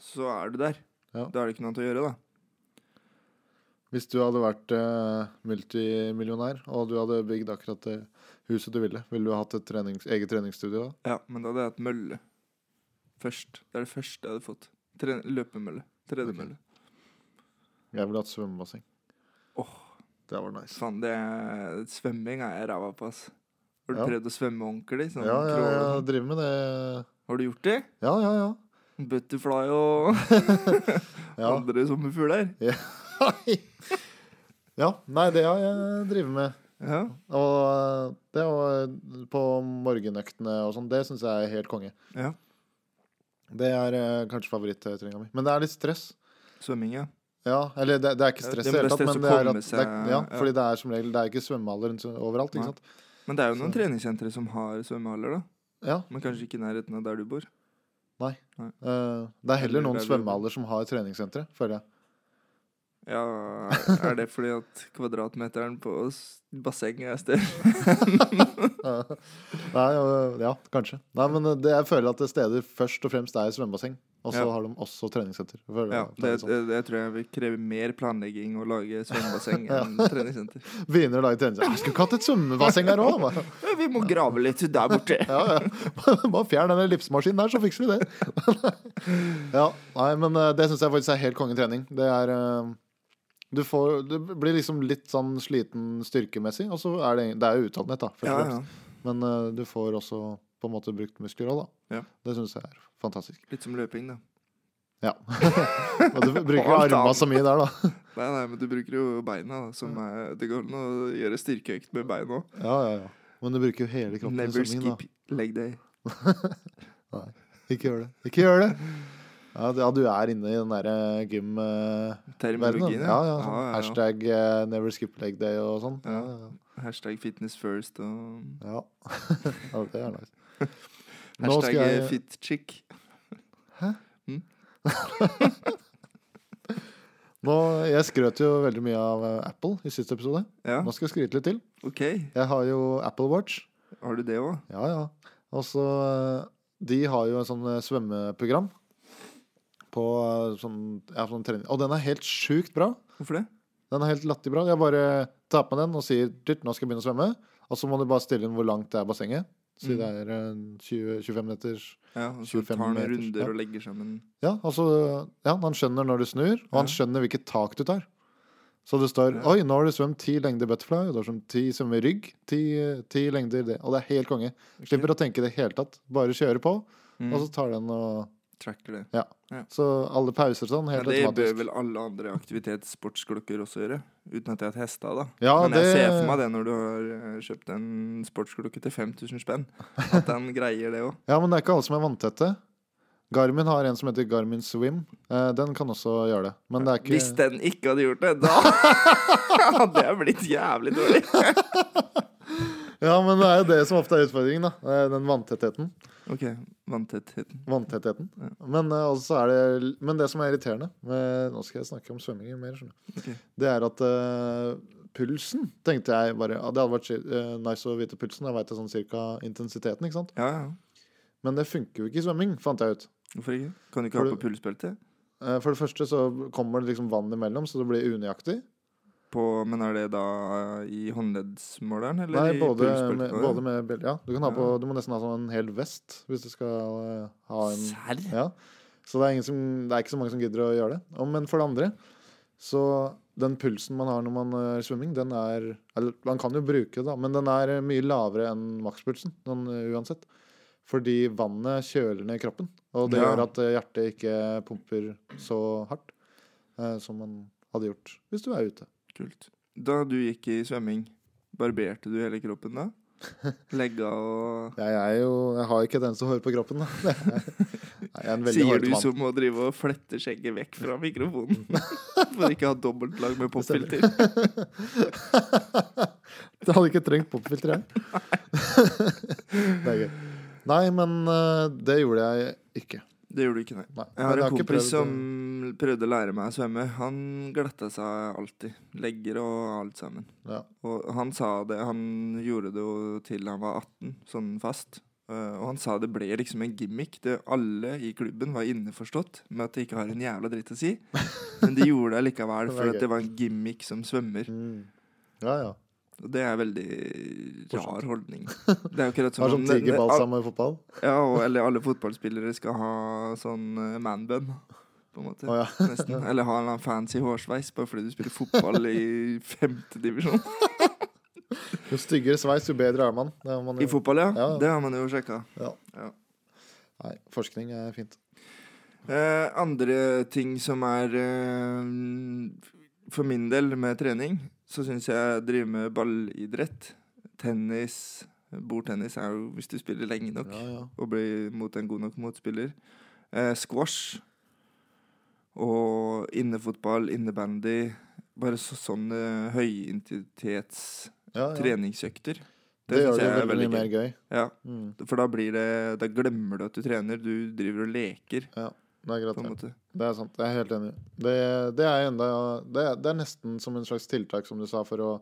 Speaker 2: så er du der.
Speaker 1: Ja.
Speaker 2: Da er det ikke noe annet å gjøre, da.
Speaker 1: Hvis du hadde vært eh, multimillionær, og du hadde bygd akkurat det huset du ville, ville du hatt et trenings, eget treningsstudio da?
Speaker 2: Ja, men da hadde jeg hatt mølle. Først. Det er det første jeg hadde fått. Tre, løpemølle. Tredemølle.
Speaker 1: Jeg ville hatt svømmebasseng. Det var nice.
Speaker 2: Faen, det er- svømming er jeg ræva på, ass. Har du
Speaker 1: Ja.
Speaker 2: prøvd å svømme ordentlig? Sånn,
Speaker 1: Ja, ja,
Speaker 2: crawl og
Speaker 1: ja,
Speaker 2: sånn?
Speaker 1: jeg driver med det.
Speaker 2: Har du gjort det?
Speaker 1: Ja, ja, ja.
Speaker 2: Butterfly og
Speaker 1: <laughs> Ja,
Speaker 2: andre sommerfugler?
Speaker 1: <laughs> ja nei, det har jeg drevet med.
Speaker 2: Ja.
Speaker 1: Og eh, det var på morgenøktene og sånn. Det syns jeg er helt konge.
Speaker 2: ja.
Speaker 1: Det er eh, kanskje favorittreninga mi. Men det er litt stress.
Speaker 2: Svømming, ja.
Speaker 1: Ja, eller det, det er ikke
Speaker 2: Ja,
Speaker 1: stress
Speaker 2: det
Speaker 1: i
Speaker 2: er
Speaker 1: det hele tatt,
Speaker 2: bare
Speaker 1: men
Speaker 2: stress å
Speaker 1: det er
Speaker 2: komme
Speaker 1: at det er,
Speaker 2: seg-
Speaker 1: ja,
Speaker 2: ja.
Speaker 1: fordi det er som regel Det er ikke svømmehaller rundt- overalt,
Speaker 2: Nei.
Speaker 1: ikke sant?
Speaker 2: Men det er jo noen
Speaker 1: Så-
Speaker 2: treningssentre som har svømmehaller, da.
Speaker 1: Ja.
Speaker 2: Men kanskje ikke i nærheten av der du bor.
Speaker 1: eh, det er
Speaker 2: Eller
Speaker 1: heller noen
Speaker 2: der vi-
Speaker 1: svømmehaller som har treningssentre, føler jeg. <laughs>
Speaker 2: Ja, Er det fordi at kvadratmeteren på s- bassenget er større?
Speaker 1: Eh, Nei, eh, ja, kanskje. Nei, men eh, det, jeg føler at det steder først og fremst er svømmebasseng, og så
Speaker 2: Ja.
Speaker 1: har de også treningssenter. Jeg føler
Speaker 2: Ja,
Speaker 1: det er
Speaker 2: det,
Speaker 1: litt sånn.
Speaker 2: det, det tror jeg vil kreve mer planlegging å
Speaker 1: <laughs>
Speaker 2: lage svømmebasseng enn treningssenter.
Speaker 1: Begynner å lage treningssenter. Jeg skulle ikke hatt et svømmebasseng her òg! Bare,
Speaker 2: Ja, <laughs> Vi må grave litt der borte.
Speaker 1: <laughs> ja, ja. bare fjern den ellipsemaskinen der, så fikser vi det. <laughs> ja, nei, men eh, det syns jeg faktisk er helt konge trening. Det er eh, du, får, du blir liksom litt sånn sliten styrkemessig, og så er det, det er jo utholdenhet, da. Først
Speaker 2: Ja,
Speaker 1: og
Speaker 2: ja.
Speaker 1: fremst. Men eh, du får også på en måte brukt muskler òg, da.
Speaker 2: Ja.
Speaker 1: Det syns jeg er fantastisk.
Speaker 2: Litt som løping, da.
Speaker 1: Ja. Og
Speaker 2: <laughs>
Speaker 1: du bruker
Speaker 2: Og alt
Speaker 1: armene
Speaker 2: annet.
Speaker 1: så mye der,
Speaker 2: <laughs>
Speaker 1: da.
Speaker 2: Nei, nei, men du bruker jo beina, da. Som er, det går an å gjøre styrkeøkt med beina òg.
Speaker 1: Ja, ja, ja. Men du bruker jo hele kroppen. i
Speaker 2: Never
Speaker 1: svømmingen, da.
Speaker 2: skip leg day.
Speaker 1: Ikke gjør det. Ikke gjør det! Ja, du- ja, du er inne i den eh, derre gymverdenen.
Speaker 2: Terminologien.
Speaker 1: Ja, ja, sånn. Hashtag eh, never skip leg day og sånn. Ja,
Speaker 2: Ja.
Speaker 1: ja,
Speaker 2: Hashtag fitness first og
Speaker 1: ja. <laughs> ja, det er <laughs> nice. Nå skal
Speaker 2: hashtag eh,
Speaker 1: jeg
Speaker 2: fit chick.
Speaker 1: nå, Jeg skrøt jo veldig mye av eh, Apple i siste episode.
Speaker 2: Ja,
Speaker 1: Nå skal jeg skryte litt til.
Speaker 2: OK.
Speaker 1: Jeg har jo Apple Watch.
Speaker 2: Har du det òg?
Speaker 1: Ja, ja. Og så eh, De har jo en sånn eh, svømmeprogram på eh, sånn, ja, sånn trening. Og den er helt sjukt bra.
Speaker 2: Hvorfor det?
Speaker 1: Den er helt latterlig bra. Jeg bare tar på meg den og sier dyrt, nå skal jeg begynne å svømme. Og så må du bare stille inn hvor langt det er bassenget.
Speaker 2: Mm.
Speaker 1: Si det er en 20, 25 meters
Speaker 2: Ja, og så
Speaker 1: 25
Speaker 2: tar han
Speaker 1: meter, ja.
Speaker 2: runder og legger sammen
Speaker 1: Ja, altså, ja, han skjønner når du snur, og han
Speaker 2: Ja.
Speaker 1: skjønner hvilket tak du tar. Så det står Oi, nå har du svømt ti lengder butterfly, og du har svømt ti svømme rygg. Ti, ti lengder det. Og det er Altså- helt konge. Slipper å tenke i det hele tatt. Bare kjøre på, og så tar den og
Speaker 2: Mm, Tracker det.
Speaker 1: Ja.
Speaker 2: Ja.
Speaker 1: Så alle pauser og sånn,
Speaker 2: Ja,
Speaker 1: helt
Speaker 2: det bør
Speaker 1: automatisk.
Speaker 2: vel alle andre aktivitetssportsklokker også gjøre. Uten at jeg har testa, da.
Speaker 1: Ja,
Speaker 2: Men jeg
Speaker 1: det-
Speaker 2: ser for meg det når du har eh, kjøpt en sportsklokke til 5000 spenn. At den greier det òg.
Speaker 1: Ja, men det er ikke alle som er vanntette. Garmin har en som heter Garmin Swim. Eh, den kan også gjøre det. Men det er ikke
Speaker 2: Hvis den ikke hadde gjort det, da <laughs> hadde jeg blitt jævlig dårlig.
Speaker 1: Ja, men det er jo det som ofte er utfordringen, da. Eh, Den vanntettheten.
Speaker 2: OK, vanntettheten.
Speaker 1: Vanntettheten. Men, eh, også er det, men det som er irriterende med, Nå skal jeg snakke om svømming mer, skjønner du.
Speaker 2: Ok.
Speaker 1: Det er at eh, pulsen tenkte jeg bare ja, Det hadde vært si- eh, nice å vite pulsen. Da veit jeg sånn cirka intensiteten, ikke sant.
Speaker 2: Ja, ja.
Speaker 1: Men det funker jo ikke i svømming, fant jeg ut.
Speaker 2: Hvorfor ikke? Kan du ikke
Speaker 1: For
Speaker 2: ha
Speaker 1: du-
Speaker 2: på pulsbelte?
Speaker 1: Eh, For det første så kommer det liksom vann imellom, så det blir unøyaktig.
Speaker 2: På, men er det da eh, i håndleddsmåleren, eller
Speaker 1: Nei,
Speaker 2: i
Speaker 1: både
Speaker 2: pulsbeltet?
Speaker 1: med, både med bel- Ja, du, kan ha på, du må nesten ha sånn en hel vest hvis du skal eh, ha en
Speaker 2: Serr?
Speaker 1: ja. Så det er, ingen som, det er ikke så mange som gidder å gjøre det. Og, men for det andre, så den pulsen man har når man eh, er svømming, den er Eller man kan jo bruke det, da, men den er eh, mye lavere enn makspulsen sånn, eh, uansett. Fordi vannet kjøler ned kroppen, og det
Speaker 2: Ja.
Speaker 1: gjør at eh, hjertet ikke pumper så hardt eh, som man hadde gjort hvis du er ute.
Speaker 2: Kult. Da du gikk i svømming, barberte du hele kroppen
Speaker 1: <laughs>
Speaker 2: da? Legga og
Speaker 1: Jeg er jo Jeg har ikke et eneste hår på kroppen. Da. Det er, jeg er en veldig
Speaker 2: Sier du
Speaker 1: hårete mann.
Speaker 2: som må drive og flette skjegget vekk fra
Speaker 1: <laughs>
Speaker 2: mikrofonen? For ikke ha dobbeltlag med popfilter.
Speaker 1: Du hadde ikke trengt popfilter, jeg. <laughs> det er gøy. Nei, men eh, det gjorde jeg ikke.
Speaker 2: Det gjorde du ikke, nei.
Speaker 1: Nei.
Speaker 2: Jeg
Speaker 1: Men
Speaker 2: har en
Speaker 1: ikke
Speaker 2: kompis
Speaker 1: prøvd,
Speaker 2: som prøvde å lære meg å svømme. Han glatta seg alltid. Legger og alt sammen.
Speaker 1: Ja.
Speaker 2: Og han sa det Han gjorde det jo til han var 18, sånn fast. Eh, og han sa det ble liksom en gimmick. Det, alle i klubben var innforstått med at de ikke har en jævla dritt å
Speaker 1: <laughs>
Speaker 2: si. Men de gjorde det
Speaker 1: Det
Speaker 2: likevel,
Speaker 1: var
Speaker 2: for at
Speaker 1: gøy.
Speaker 2: det var en gimmick som svømmer.
Speaker 1: Mm. Ja, ja.
Speaker 2: Og det er en veldig rar holdning. Det er
Speaker 1: <laughs>
Speaker 2: jo akkurat
Speaker 1: Har
Speaker 2: som
Speaker 1: sånn
Speaker 2: om-
Speaker 1: tigerbalsam i fotball.
Speaker 2: Ja, og, eller alle fotballspillere skal ha sånn eh, man-bun, på en måte.
Speaker 1: Å, ja.
Speaker 2: Nesten. Eller ha en eller annen fancy hårsveis bare fordi du spiller
Speaker 1: <laughs>
Speaker 2: fotball i femtedivisjon.
Speaker 1: Jo styggere sveis, jo bedre er man. Det har man
Speaker 2: I
Speaker 1: jo.
Speaker 2: fotball, ja.
Speaker 1: Ja.
Speaker 2: Det har man jo sjekka.
Speaker 1: Nei, forskning er fint.
Speaker 2: Eh, andre ting som er eh, For min del med trening, så syns jeg driver med ballidrett. Tennis. Bordtennis er jo hvis du spiller lenge nok
Speaker 1: Ja, ja.
Speaker 2: og blir mot en god nok motspiller. Eh, squash og innefotball, innebandy. Bare så, sånne høyintensitets
Speaker 1: Ja, ja.
Speaker 2: treningsøkter.
Speaker 1: Det, gjør det veldig mye mer gøy.
Speaker 2: Ja,
Speaker 1: Mm.
Speaker 2: for da blir det Da glemmer du at du trener. Du driver og leker,
Speaker 1: Det er
Speaker 2: på
Speaker 1: greit.
Speaker 2: en
Speaker 1: Ja.
Speaker 2: måte.
Speaker 1: Det er sant. Jeg er helt enig. Det, det, er enda, det, er, det er nesten som en slags tiltak, som du sa, for å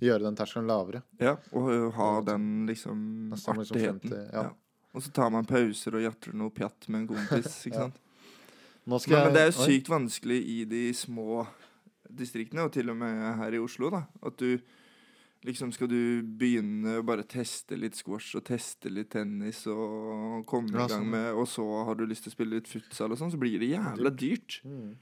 Speaker 1: gjøre den terskelen lavere.
Speaker 2: Ja, og ø, ha den liksom
Speaker 1: Nesten liksom
Speaker 2: artigheten.
Speaker 1: 50, ja.
Speaker 2: Og så tar man pauser og jatter noe pjatt med en kompis.
Speaker 1: <laughs>
Speaker 2: ikke
Speaker 1: Ja.
Speaker 2: sant?
Speaker 1: Nå
Speaker 2: men, men det er jo
Speaker 1: Oi.
Speaker 2: sykt vanskelig i de små distriktene, og til og med her i Oslo, da. At du liksom skal du begynne å bare teste litt squash og teste litt tennis og komme
Speaker 1: Ja,
Speaker 2: i gang
Speaker 1: sånn.
Speaker 2: med Og så har du lyst til å spille litt futsal og sånn, så blir det jævla dyrt.
Speaker 1: Mm.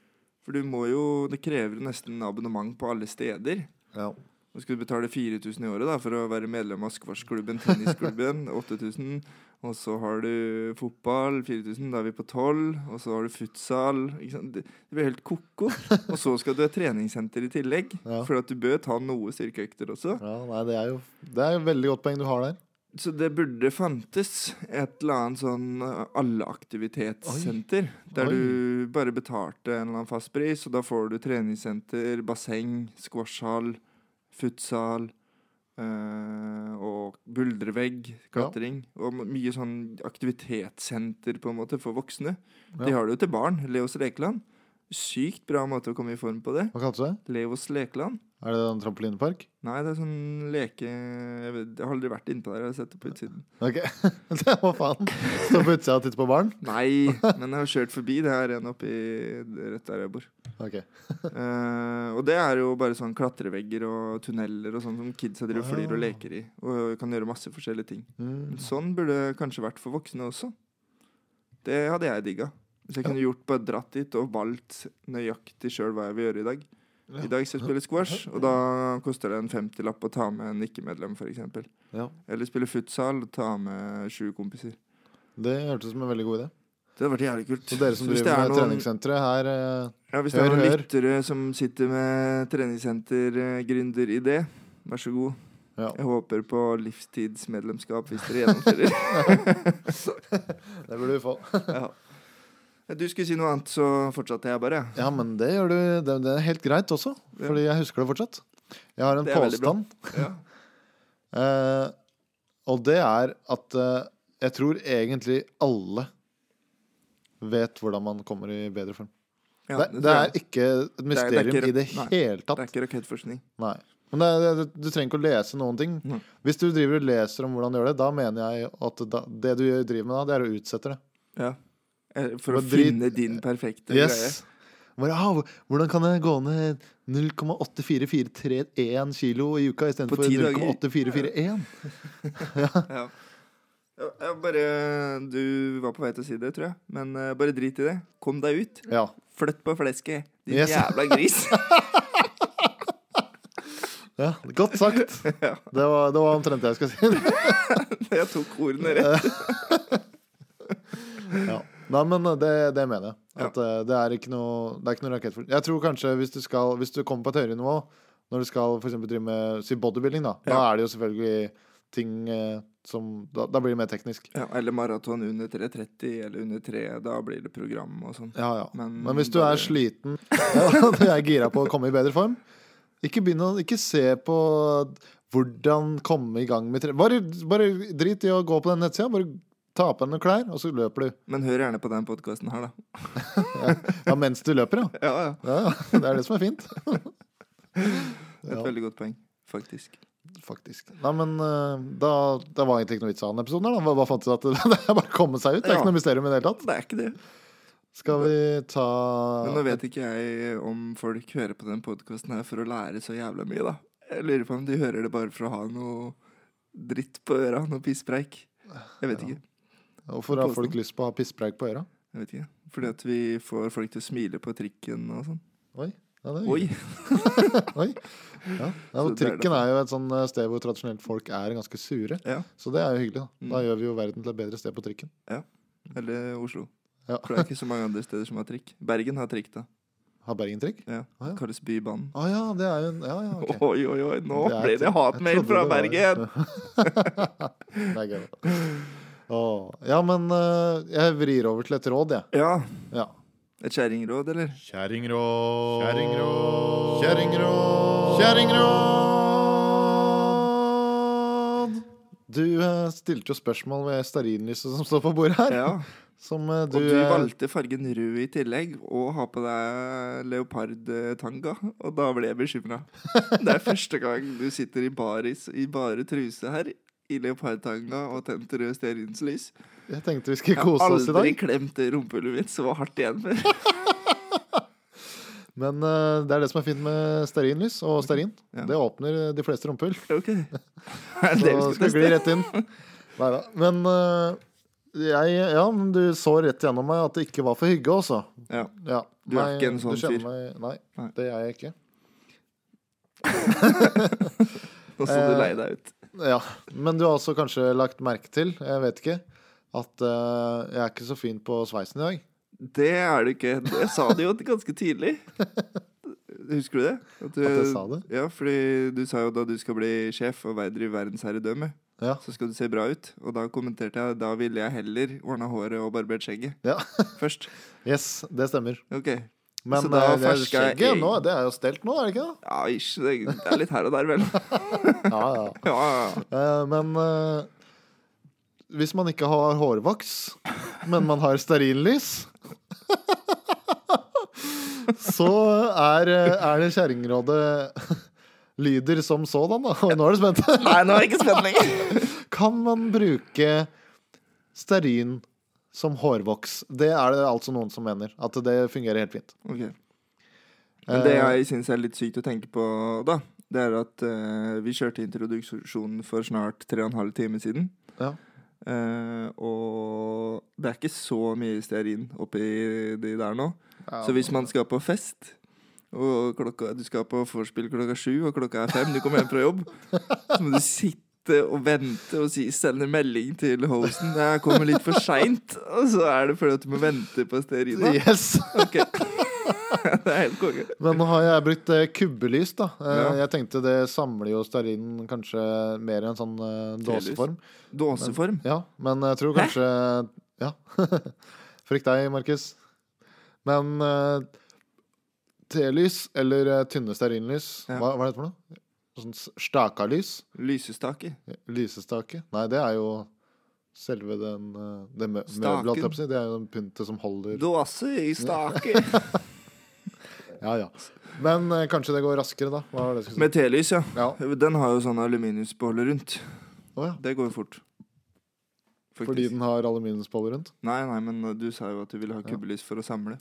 Speaker 2: For du må jo Det krever nesten abonnement på alle steder.
Speaker 1: Ja.
Speaker 2: Nå skal du betale 4000 i året da, for å være medlem av squashklubben, tennisklubben, 8000. Og så har du fotball, 4000. Da er vi på 12. Og så har du futsal. Ikke sant? Det det blir helt ko-ko. Og så skal du ha treningssenter i tillegg.
Speaker 1: Ja.
Speaker 2: For at du bør ta noe styrkeøkter også.
Speaker 1: ja, nei, det er jo Det er jo et veldig godt poeng du har der.
Speaker 2: Så det burde fantes et eller annet sånn eh, alleaktivitetssenter. Der
Speaker 1: Oi.
Speaker 2: du bare betalte en eller annen fast pris, og da får du treningssenter, basseng, squashhall, futsal eh, og buldrevegg, klatring. Og m- mye sånn aktivitetssenter på en måte for voksne. De
Speaker 1: Ja.
Speaker 2: har det jo til barn. Leos Lekeland. Sykt bra måte å komme i form på det.
Speaker 1: Hva kalte du det?
Speaker 2: Leos Lekeland.
Speaker 1: Er det en trampolinepark?
Speaker 2: Nei, det er sånn leke... Jeg, vet, jeg har aldri vært innpå der. Jeg har sett det på utsiden.
Speaker 1: Ok, <laughs> det Hva faen? Stå på utsida og titte på barn?
Speaker 2: Nei, men jeg har kjørt forbi. Det er en oppi rett der jeg bor.
Speaker 1: Ok,
Speaker 2: Eh, og det er jo bare sånn klatrevegger og tunneler og sånn som kidsa driver og flyr og leker i. Og kan gjøre masse forskjellige ting.
Speaker 1: mm.
Speaker 2: Men sånn burde det kanskje vært for voksne også. Det hadde jeg digga. Hvis jeg kunne gjort bare dratt dit og valgt nøyaktig sjøl hva jeg vil gjøre i dag. I dag skal jeg spille squash, og da koster det en 50-lapp å ta med en ikke-medlem, f.eks.
Speaker 1: Ja.
Speaker 2: Eller spille futsal og ta med sju kompiser.
Speaker 1: Det hørtes ut som en veldig god idé.
Speaker 2: Det hadde vært jævlig kult.
Speaker 1: Så dere som
Speaker 2: hvis
Speaker 1: driver
Speaker 2: det er
Speaker 1: med
Speaker 2: noen-
Speaker 1: treningssenteret her eh,
Speaker 2: Ja, hvis det
Speaker 1: Hør,
Speaker 2: er noen
Speaker 1: hør.
Speaker 2: lyttere som sitter med treningssenter-gründeridé, vær så god.
Speaker 1: ja.
Speaker 2: Jeg håper på livstidsmedlemskap hvis dere gjennomfører.
Speaker 1: <laughs> Det burde vi få.
Speaker 2: ja. Du skulle si noe annet, så fortsatte jeg bare.
Speaker 1: Ja, men det gjør du. Det, det er helt greit også,
Speaker 2: Ja.
Speaker 1: fordi jeg husker det fortsatt. Jeg har en
Speaker 2: Det er veldig bra.
Speaker 1: påstand,
Speaker 2: Ja.
Speaker 1: eh, og det er at eh, jeg tror egentlig alle vet hvordan man kommer i bedre form.
Speaker 2: Ja,
Speaker 1: det, det
Speaker 2: tror
Speaker 1: er
Speaker 2: jeg.
Speaker 1: ikke et mysterium
Speaker 2: ikke-
Speaker 1: i det
Speaker 2: nei,
Speaker 1: hele
Speaker 2: det
Speaker 1: tatt.
Speaker 2: er ikke rakettforskning.
Speaker 1: Nei. Men det, er- det, du trenger ikke å lese noen ting.
Speaker 2: Nei.
Speaker 1: Hvis du driver og leser om hvordan du gjør det, da mener jeg at da, det du driver med da, det er å utsette det.
Speaker 2: Ja. Eh, For å
Speaker 1: Og drit-
Speaker 2: finne din perfekte greie.
Speaker 1: Yes. Bare, ah, hvordan kan jeg gå ned 0,84431 kilo i uka
Speaker 2: På
Speaker 1: istedenfor
Speaker 2: ti dager?
Speaker 1: 0,8441?
Speaker 2: Ja. Ja, ja, bare eh, Du var på vei til å si det, tror jeg. Men eh, bare drit i det. Kom deg ut.
Speaker 1: Ja.
Speaker 2: Flytt på flesket, din
Speaker 1: Yes.
Speaker 2: jævla
Speaker 1: <laughs>
Speaker 2: gris.
Speaker 1: ja. Godt <laughs> sagt.
Speaker 2: Ja.
Speaker 1: Det var, det var omtrent det jeg skulle si.
Speaker 2: jeg tok ordene rett.
Speaker 1: <laughs> Ja. Nei, men eh, det, det mener jeg.
Speaker 2: Ja.
Speaker 1: At eh, det er ikke noe, det er ikke noe rakettfart. Jeg tror kanskje hvis du, skal, hvis du kommer på et høyere nivå, når du skal for eksempel drive med si bodybuilding, da, da
Speaker 2: Ja.
Speaker 1: er det jo selvfølgelig ting eh, som Da, da blir det mer teknisk.
Speaker 2: Ja, eller maraton under 3.30 eller under 3. Da blir det program og sånn.
Speaker 1: Ja, ja. Men,
Speaker 2: Men
Speaker 1: hvis du
Speaker 2: bare-
Speaker 1: er sliten <laughs> og du er gira på å komme i bedre form, ikke begynn å Ikke se på hvordan komme i gang med tre... Bare, bare drit i å gå på den nettsida. Bare ta på deg noen klær, og så løper du.
Speaker 2: Men hør gjerne på den podkasten her, da.
Speaker 1: Ja, mens du løper, ja.
Speaker 2: Ja, ja.
Speaker 1: ja. <laughs> ja. Det er det som er fint,
Speaker 2: Et
Speaker 1: Ja.
Speaker 2: veldig godt poeng, faktisk.
Speaker 1: faktisk. Nei, men eh, da, da var egentlig ikke noe vits å ha den episoden her, da. Hva- Hva fant du at det, <laughs> det er bare å komme seg ut? Det er
Speaker 2: Ja.
Speaker 1: ikke noe mysterium i det hele tatt.
Speaker 2: Det er ikke det.
Speaker 1: Skal vi ta
Speaker 2: Men nå vet ikke jeg om folk hører på den podkasten her for å lære så jævla mye, da. Jeg lurer på om de hører det bare for å ha noe dritt på øra, noe pisspreik. Jeg vet ikke.
Speaker 1: Hvorfor har folk lyst på å ha pisspreik på øra?
Speaker 2: Jeg vet ikke. Fordi at vi får folk til å smile på trikken og sånn.
Speaker 1: Oi. Ja, det er
Speaker 2: Oi!
Speaker 1: Oi. Ja. Ja,
Speaker 2: <laughs> Så
Speaker 1: og
Speaker 2: det er
Speaker 1: trikken er jo et sånn eh, sted hvor tradisjonelt folk er ganske sure.
Speaker 2: Ja.
Speaker 1: Så det er jo hyggelig. Da Da
Speaker 2: Mm.
Speaker 1: gjør vi jo verden til et bedre sted på trikken.
Speaker 2: Eller Oslo.
Speaker 1: Ja.
Speaker 2: For det er ikke så mange andre steder som har trikk. Bergen har trikk, da.
Speaker 1: Har Bergen trikk?
Speaker 2: Ja.
Speaker 1: Ah, ja.
Speaker 2: Kalles Bybanen.
Speaker 1: Å ja, det er jo en Ja,
Speaker 2: <laughs>
Speaker 1: ja, ok.
Speaker 2: Oi, oi, oi, nå
Speaker 1: Det er
Speaker 2: ble
Speaker 1: til-
Speaker 2: det hatmail
Speaker 1: jeg trodde
Speaker 2: fra
Speaker 1: det var-
Speaker 2: Bergen!
Speaker 1: det er gøy. Å, Ja, men eh, jeg vrir over til et råd, jeg.
Speaker 2: Ja.
Speaker 1: <laughs> Ja.
Speaker 2: Et kjerringråd,
Speaker 1: <laughs>
Speaker 2: eller?
Speaker 1: Kjerringråd. Kjerringråd. Kjerringråd. Kjerringråd. Du eh, stelte jo spørsmål ved stearinlyset som står på bordet her.
Speaker 2: Ja.
Speaker 1: Som eh, du,
Speaker 2: Og du
Speaker 1: eh,
Speaker 2: valgte fargen rød i tillegg, og har på deg leopardtanga. Og da ble jeg bekymra.
Speaker 1: <laughs>
Speaker 2: Det er første gang du sitter i baris i bare truse her, i leopardtanga og tent rød stearinslys.
Speaker 1: Jeg tenkte <laughs> vi skulle
Speaker 2: Jeg har
Speaker 1: kose oss i dag.
Speaker 2: aldri klemt det rumpehullet mitt så hardt igjen før. <laughs>
Speaker 1: Men eh, det er det som er fint med stearinlys og stearin.
Speaker 2: Ja.
Speaker 1: Det åpner eh, de fleste rumpehull. <laughs>
Speaker 2: Ok.
Speaker 1: Så
Speaker 2: Dere
Speaker 1: skal du gli rett inn. Neida. Men eh, jeg Ja, men du så rett gjennom meg at det ikke var for hygge, altså.
Speaker 2: Ja.
Speaker 1: Ja.
Speaker 2: Du er ikke en
Speaker 1: du
Speaker 2: sånn
Speaker 1: kjenner
Speaker 2: fyr.
Speaker 1: Meg, nei,
Speaker 2: Nei.
Speaker 1: det er jeg ikke.
Speaker 2: Nå så du
Speaker 1: Eh,
Speaker 2: lei deg ut.
Speaker 1: Ja. Men du har også kanskje lagt merke til, jeg vet ikke, at eh, jeg er ikke så fin på sveisen i dag.
Speaker 2: Det er du ikke. Jeg sa det jo ganske tidlig. Husker du det?
Speaker 1: At
Speaker 2: du,
Speaker 1: jeg sa det?
Speaker 2: Ja, fordi du sa jo da du skal bli sjef og drive verdensherredømme,
Speaker 1: Ja.
Speaker 2: så skal du se bra ut. Og da kommenterte jeg da ville jeg heller ordna håret og barbert skjegget
Speaker 1: Ja.
Speaker 2: først.
Speaker 1: Yes, det stemmer.
Speaker 2: Ok.
Speaker 1: Men
Speaker 2: Så da
Speaker 1: eh, det
Speaker 2: ferska jeg
Speaker 1: skjegget
Speaker 2: egg.
Speaker 1: nå, det er jo stelt nå, er det ikke det?
Speaker 2: Ja, ish. Det det er litt her og der, vel.
Speaker 1: Ja, ja.
Speaker 2: Ja, ja, ja.
Speaker 1: Eh, men eh, hvis man ikke har hårvoks, men man har stearinlys <laughs> Så er, eh, er det kjerringrådet lyder som sådan, da. Oi, nå er du spent. <laughs>
Speaker 2: Nei, nå er jeg ikke spent lenger.
Speaker 1: Kan man bruke stearin som hårvoks? Det er det altså noen som mener. At det fungerer helt fint.
Speaker 2: Ok. Men det jeg syns er litt sykt å tenke på da, det er at eh, vi kjørte introduksjonen for snart tre og en halv time siden.
Speaker 1: Ja.
Speaker 2: Eh, og det er ikke så mye stearin oppi de der nå. Så hvis man skal på fest Og klokka, du skal på vorspiel klokka sju, og klokka er fem. Du kommer hjem fra jobb. Så må du sitte og vente og si, sende melding til hosten. Jeg kommer litt for seint. Og så er det fordi at du må vente på stearina.
Speaker 1: Yes. <laughs>
Speaker 2: Ok. <laughs> Det er helt konge.
Speaker 1: Men nå har jeg brukt eh, kubbelys, da. Eh,
Speaker 2: Ja.
Speaker 1: Jeg tenkte det samler jo stearinen kanskje mer i en sånn eh,
Speaker 2: Telys.
Speaker 1: dåseform.
Speaker 2: Dåseform.
Speaker 1: Ja, men jeg tror kanskje Ja. <laughs> Frykt deg, Markus. Men eh, telys eller eh, tynne stearinlys
Speaker 2: Ja.
Speaker 1: hva, hva er det for noe? Sånn s- stakalys?
Speaker 2: Lysestake.
Speaker 1: Lysestake? Nei, det er jo selve den eh, det mø
Speaker 2: Staken.
Speaker 1: møbelet, holdt jeg på å si. Det er jo den pyntet som holder
Speaker 2: Dåse i stake. <laughs>
Speaker 1: Ja, ja. Men eh, kanskje det går raskere, da. Hva var det jeg skulle si?
Speaker 2: Med telys, ja.
Speaker 1: Ja.
Speaker 2: Den har jo sånn aluminiumsbeholder rundt.
Speaker 1: Å ja.
Speaker 2: Det går jo fort. Faktisk.
Speaker 1: Fordi den har aluminiumsboller rundt?
Speaker 2: Nei, nei, men eh, du sa jo at du ville ha kubbelys for å samle.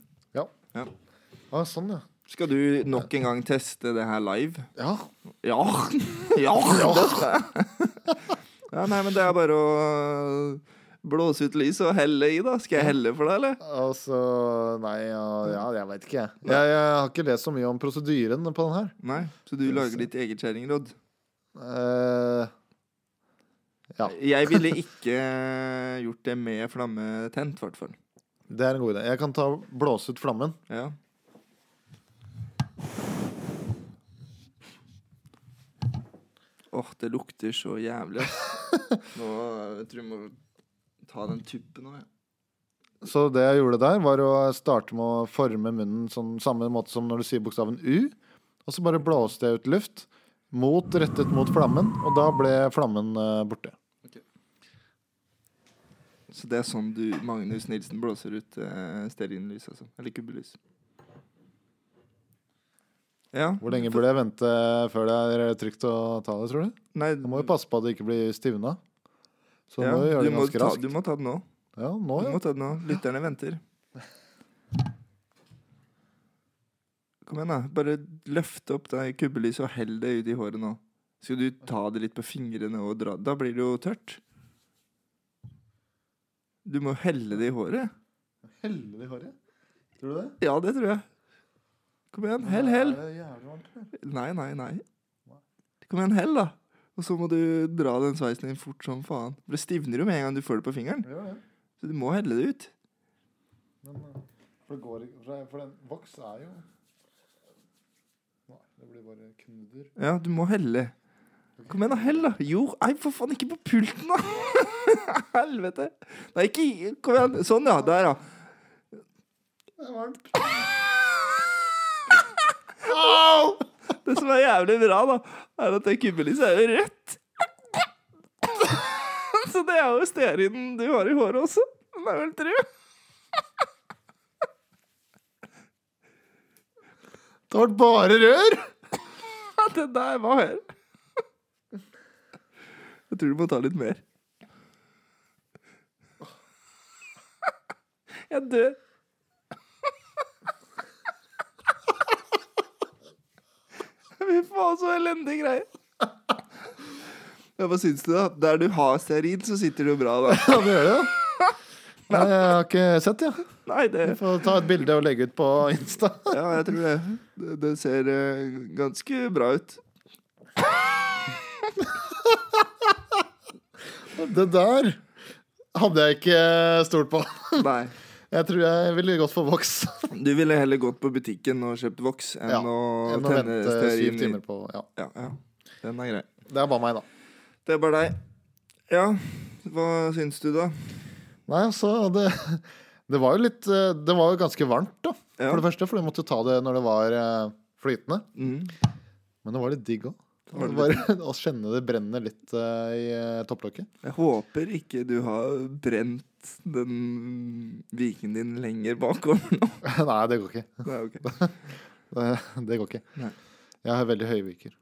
Speaker 1: Å, sånn, ja.
Speaker 2: Skal du nok en gang teste det her live?
Speaker 1: Ja.
Speaker 2: Ja! <laughs> Ja! dette. <laughs> ja nei, men det er bare å eh, blåse ut lyset og helle i, da. Skal jeg helle for deg, eller?
Speaker 1: Altså Nei, ja, ja jeg veit ikke, jeg. jeg. Jeg har ikke lest så mye om prosedyren på den her.
Speaker 2: Nei, så du lager ditt eget kjerringråd?
Speaker 1: Eh, ja,
Speaker 2: Jeg ville ikke eh, gjort det med flamme tent, i hvert fall.
Speaker 1: det er en god idé. Jeg kan ta blåse ut flammen.
Speaker 2: Ja. Åh, det lukter så jævlig.
Speaker 1: <laughs>
Speaker 2: ass. Nå jeg tror jeg må ta den tuppen òg, jeg.
Speaker 1: Så det jeg gjorde der, var å starte med å forme munnen sånn, samme måte som når du sier bokstaven U. Og så bare blåste jeg ut luft mot, rettet mot flammen, og da ble flammen eh, borte.
Speaker 2: Så det er sånn du, Magnus Nilsen, blåser ut eh, stearinlys, altså. Eller kubbelys. Ja.
Speaker 1: Hvor lenge burde jeg vente før det er eh, trygt å ta det, tror du?
Speaker 2: Nei,
Speaker 1: Du må jo passe på at det ikke blir stivna. Så du
Speaker 2: ja,
Speaker 1: må jo gjøre
Speaker 2: du
Speaker 1: det
Speaker 2: må
Speaker 1: ganske
Speaker 2: ta,
Speaker 1: raskt.
Speaker 2: Du må ta den nå.
Speaker 1: Ja, nå,
Speaker 2: Du
Speaker 1: ja.
Speaker 2: må ta den nå. Lytterne venter. Kom igjen, da. Bare løfte opp det kubbelyset og hell det ut i håret nå. Skal du ta det litt på fingrene og dra Da blir det jo tørt. Du må helle det i håret.
Speaker 1: Helle i håret. Tror du det?
Speaker 2: Ja, det tror jeg. Kom igjen. Hell, hell.
Speaker 1: Det er jævlig varmt her.
Speaker 2: Nei, nei, nei. Kom igjen, hell, da. Og så må du dra den sveisen din fort som faen. For Det stivner jo med en gang du får det på fingeren.
Speaker 1: Det gjør det.
Speaker 2: Så du må helle det ut.
Speaker 1: Men eh, for, det går, ikke- for, det- for den voks er jo Nei, det blir bare knudder.
Speaker 2: Ja, du må helle. Kom igjen, da. Hell, da. Jo, nei, for faen, ikke på pulten, da! <laughs> Helvete. Nei, ikke i- Kom igjen. Sånn, ja. Der, ja.
Speaker 1: Det er varmt.
Speaker 2: Au! Det som er jævlig bra, da, er at det kubbelyset er jo rødt. Så det er jo stearinen du har i håret også. Den er vel rød.
Speaker 1: Det ble bare rør!
Speaker 2: Ja, det der var her. Jeg tror du må ta litt mer. Jeg dør. Fy faen, så elendig greie. Ja, Hva syns du, da? Der du har stearin, så sitter du bra, da.
Speaker 1: Ja, det gjør det, ja. <laughs> Nei, jeg har ikke sett det. Ja.
Speaker 2: Nei, det
Speaker 1: Vi får ta et bilde og legge ut på Insta.
Speaker 2: Ja, jeg tror det. Det, det ser eh, ganske bra ut.
Speaker 1: Det der hadde jeg ikke stolt på.
Speaker 2: Nei.
Speaker 1: Jeg tror jeg ville gått for voks.
Speaker 2: Du ville heller gått på butikken og kjøpt voks enn
Speaker 1: Ja,
Speaker 2: å
Speaker 1: Enn å
Speaker 2: tenne
Speaker 1: vente syv
Speaker 2: stearin. i-
Speaker 1: timer på Ja,
Speaker 2: Ja, ja. Den er grei.
Speaker 1: det er bare meg, da.
Speaker 2: Det er bare deg. Ja, hva syns du, da?
Speaker 1: Nei, altså det, det var jo litt eh, Det var jo ganske varmt, da.
Speaker 2: Ja.
Speaker 1: For det første, for du måtte ta det når det var eh, flytende.
Speaker 2: Mm.
Speaker 1: Men det var litt digg òg.
Speaker 2: var det
Speaker 1: Bare <laughs> å kjenne det brenne litt eh, i eh, topplokket. <laughs>
Speaker 2: Jeg håper ikke du har brent den viken din lenger bakover nå.
Speaker 1: Nei, det går ikke.
Speaker 2: <laughs>
Speaker 1: <laughs>
Speaker 2: Nei, ok.
Speaker 1: Det, det går ikke.
Speaker 2: Nei.
Speaker 1: Jeg har veldig høye viker.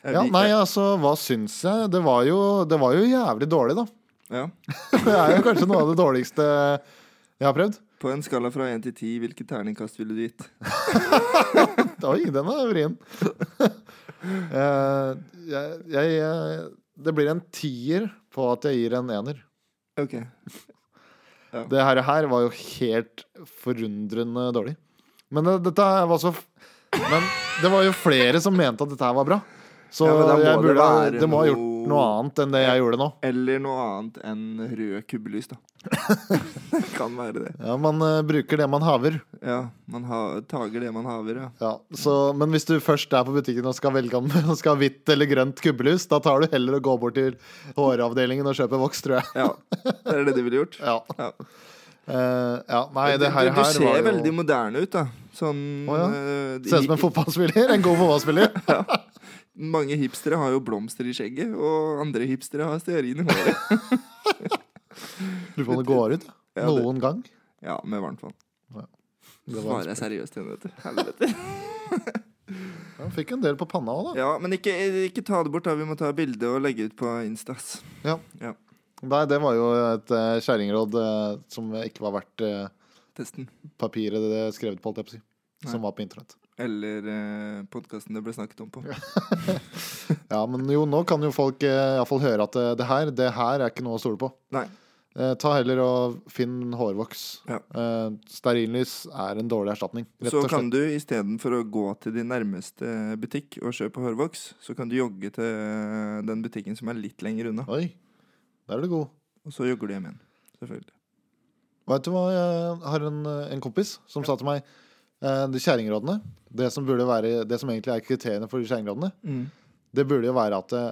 Speaker 2: Jeg
Speaker 1: Ja,
Speaker 2: liker-
Speaker 1: nei, altså, hva syns jeg? Det var jo, det var jo jævlig dårlig, da. <laughs>
Speaker 2: ja.
Speaker 1: Det er jo kanskje noe av det dårligste jeg har prøvd.
Speaker 2: På en skala fra én til ti, hvilket terningkast ville du gitt?
Speaker 1: Oi, den er vrien. <laughs> Eh, jeg, jeg, eh, det blir en tier på at jeg gir en ener.
Speaker 2: Ok.
Speaker 1: Det her, her var jo helt forundrende dårlig. Men eh, dette her var så f- Men det var jo flere som mente at dette her var bra. Så
Speaker 2: Ja, men da må
Speaker 1: jeg
Speaker 2: det
Speaker 1: burde,
Speaker 2: være
Speaker 1: det må ha gjort
Speaker 2: noe-
Speaker 1: noe annet enn det jeg gjorde nå.
Speaker 2: Eller noe annet enn rød kubbelys, da. <laughs> det kan være det.
Speaker 1: Ja, Man eh, bruker det man haver.
Speaker 2: Ja, man ha, tager det man haver, ja.
Speaker 1: Ja, så, men hvis du først er på butikken og skal velge om <laughs> du skal ha hvitt eller grønt kubbelys, da tar du heller å gå bort til håravdelingen og kjøpe voks, tror jeg. <laughs>
Speaker 2: ja. Det er det du ville gjort.
Speaker 1: Ja.
Speaker 2: Ja.
Speaker 1: Eh, ja. Nei,
Speaker 2: Du,
Speaker 1: det her,
Speaker 2: du
Speaker 1: her
Speaker 2: ser
Speaker 1: var jo
Speaker 2: veldig moderne ut, da. Sånn
Speaker 1: Å, ja.
Speaker 2: eh, de- <laughs>
Speaker 1: Ser ut som en fotballspiller. En god fotballspiller.
Speaker 2: Mange hipstere har jo blomster i skjegget, og andre hipstere har stearin i håret. <laughs>
Speaker 1: Lurer på om det går ut.
Speaker 2: Ja, det-
Speaker 1: Noen gang.
Speaker 2: Ja, med varmt vann.
Speaker 1: Det var,
Speaker 2: Svarer jeg seriøst til henne, vet du. Helvete.
Speaker 1: ja, fikk en del på panna òg, da.
Speaker 2: Ja, men ikke, ikke ta det bort, da. Vi må ta bilde og legge ut på Instas.
Speaker 1: Ja.
Speaker 2: Ja.
Speaker 1: Nei, det var jo et uh, kjerringråd eh, som ikke var verdt eh,
Speaker 2: Testen.
Speaker 1: papiret det er skrevet på, holdt jeg på å si. Som var på internett.
Speaker 2: Eller eh, podkasten det ble snakket om på.
Speaker 1: Ja, men jo, nå kan jo folk eh, i hvert fall høre at eh, det her, det her er ikke noe å stole på.
Speaker 2: Nei.
Speaker 1: Eh, ta heller og finn hårvoks.
Speaker 2: Ja.
Speaker 1: Eh, stearinlys er en dårlig erstatning. Rett
Speaker 2: Så
Speaker 1: og slett.
Speaker 2: kan du istedenfor å gå til din nærmeste butikk og kjøpe hårvoks, så kan du jogge til eh, den butikken som er litt lenger unna.
Speaker 1: Oi, der er du god.
Speaker 2: Og så jogger du hjem igjen. Selvfølgelig.
Speaker 1: Vet du hva, jeg har en, eh, en kompis som sa til meg eh, De kjerringrådene, det som burde være Det som egentlig er kriteriene for de kjerringrådene, det burde jo være at eh,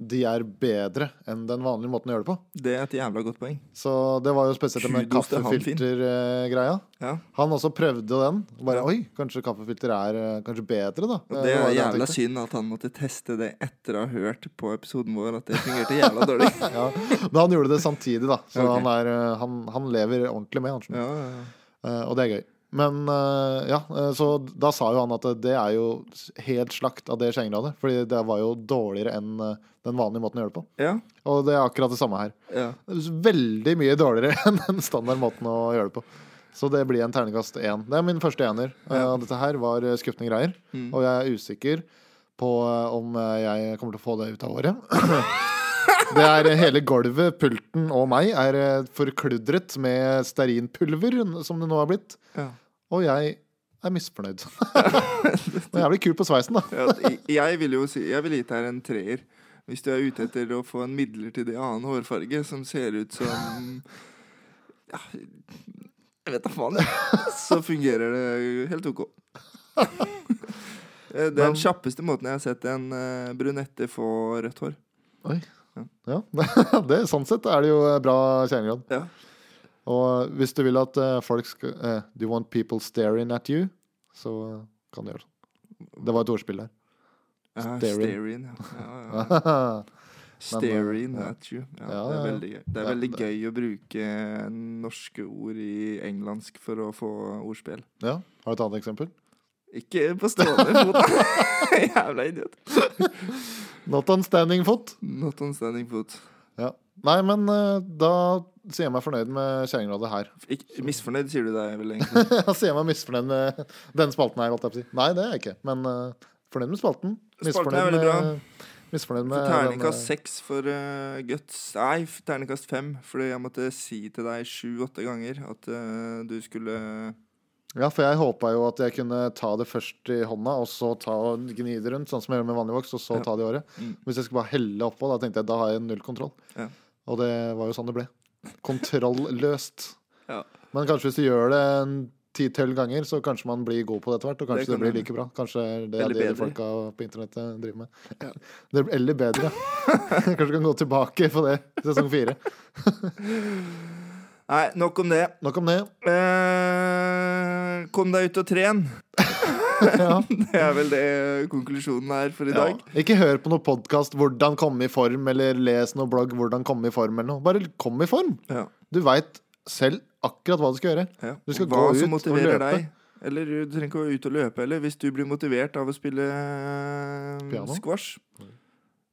Speaker 1: de er bedre enn den vanlige måten å gjøre det på.
Speaker 2: Det er et jævla godt poeng.
Speaker 1: Så det var jo spesielt det med
Speaker 2: Kudos til han, Finn.
Speaker 1: kaffefiltergreia.
Speaker 2: Ja.
Speaker 1: Han også prøvde den. Bare
Speaker 2: Ja.
Speaker 1: oi, kanskje kaffefilter er eh, kanskje bedre, da.
Speaker 2: Og
Speaker 1: Eh, var
Speaker 2: det er
Speaker 1: jo han
Speaker 2: jævla
Speaker 1: tenkte.
Speaker 2: synd at han måtte teste det etter å ha hørt på episoden vår at det fungerte jævla dårlig. <laughs> ja,
Speaker 1: Ja, men han gjorde det samtidig, da. Så
Speaker 2: Ok.
Speaker 1: han, er, eh, han, han lever ordentlig med, han. skjønner du.
Speaker 2: ja, ja.
Speaker 1: Eh, og det er gøy. Men eh, ja, eh, så da sa jo han at eh, det er jo helt slakt av det Schengen-radet. Fordi det var jo dårligere enn eh, den vanlige måten å gjøre det på.
Speaker 2: ja,
Speaker 1: Og det er akkurat det samme her.
Speaker 2: ja.
Speaker 1: Veldig mye dårligere <laughs> enn den standardmåten å gjøre det på. Så det blir en terningkast én. Det er min første ener.
Speaker 2: Ja.
Speaker 1: Eh, dette her var eh, skufne greier. Og jeg er usikker på eh, om eh, jeg kommer til å få det ut av året. Det er eh, Hele gulvet, pulten og meg er eh, forkludret med stearinpulver, som det nå har blitt.
Speaker 2: ja.
Speaker 1: Og jeg er misfornøyd. <laughs> Og jeg blir kul på sveisen, da.
Speaker 2: ja jeg- jeg ville jo si Jeg ville gitt deg en treer. Hvis du er ute etter å få en midlertidig annen hårfarge som ser ut som Ja, jeg vet da faen. Så fungerer det helt OK. Det er den kjappeste måten jeg har sett en eh, brunette få rødt hår.
Speaker 1: Oi. Ja, <laughs> det, Sånn sett er det jo eh, bra kjernegrad.
Speaker 2: Ja.
Speaker 1: Og hvis du vil at eh, folk skal eh, Do you want people staring at you? Så eh, kan du gjøre sånn. Det var et ordspill der. <laughs>
Speaker 2: Ja,
Speaker 1: Staring.
Speaker 2: Staring. Ja. Ja, ja. Staring at you. eh, Ja,
Speaker 1: Ja, ja,
Speaker 2: det er
Speaker 1: ja.
Speaker 2: veldig gøy. Det er
Speaker 1: Ja,
Speaker 2: veldig
Speaker 1: det-
Speaker 2: gøy å bruke norske ord i engelsk for å få ordspill.
Speaker 1: ja. Har du et annet eksempel?
Speaker 2: Ikke på <laughs> stående fot, da! Jævla idiot.
Speaker 1: Not on standing foot.
Speaker 2: Not on standing foot.
Speaker 1: Ja. Nei, men eh, da sier jeg meg fornøyd med kjerringradet her. <laughs>
Speaker 2: Ikke, misfornøyd, sier du deg vel <laughs> egentlig?
Speaker 1: Jeg sier meg misfornøyd med <laughs> denne spalten her. holdt jeg på å si. Nei, det er jeg ikke. Men eh, fornøyd med spalten.
Speaker 2: Spalten er veldig bra.
Speaker 1: misfornøyd med den,
Speaker 2: For
Speaker 1: eh,
Speaker 2: terningkast seks for eh, guts Nei, f- terningkast fem. Fordi jeg måtte si til deg sju-åtte ganger at eh, du skulle
Speaker 1: Ja, for jeg håpa jo at jeg kunne ta det først i hånda, og så ta og gni det rundt, sånn som jeg gjør med vanlig voks, og så ta det i året.
Speaker 2: Mm.
Speaker 1: Hvis jeg skulle bare helle oppå, da tenkte jeg da har jeg null kontroll.
Speaker 2: Ja.
Speaker 1: Og det var jo sånn det ble. Kontrollløst.
Speaker 2: <laughs> Ja.
Speaker 1: Men kanskje hvis du gjør det en ti-tolv ganger, så kanskje man blir god på det etter hvert, og
Speaker 2: Det
Speaker 1: kanskje det,
Speaker 2: kan
Speaker 1: blir
Speaker 2: hende.
Speaker 1: like bra. Kanskje det
Speaker 2: Eller
Speaker 1: er det
Speaker 2: bedre.
Speaker 1: de folka på internettet driver med. <laughs> Det, eller
Speaker 2: <laughs>
Speaker 1: bedre. kanskje du kan gå tilbake på det sesong fire.
Speaker 2: Nei, nok om det.
Speaker 1: Nok om det.
Speaker 2: <laughs> Eh, kom deg ut og tren. <laughs>
Speaker 1: Ja.
Speaker 2: Det er vel det konklusjonen er for i
Speaker 1: Ja.
Speaker 2: dag.
Speaker 1: Ikke hør på noen podkast 'Hvordan komme i form', eller les noen blogg 'Hvordan komme i form', eller noe. Bare kom i form!
Speaker 2: Ja.
Speaker 1: Du veit selv akkurat hva du skal gjøre.
Speaker 2: Ja.
Speaker 1: Du skal
Speaker 2: Og
Speaker 1: gå
Speaker 2: Hva
Speaker 1: ut og
Speaker 2: som motiverer
Speaker 1: løpe.
Speaker 2: deg. Eller du trenger ikke å være ute og løpe heller. Hvis du blir motivert av å spille eh,
Speaker 1: Piano?
Speaker 2: squash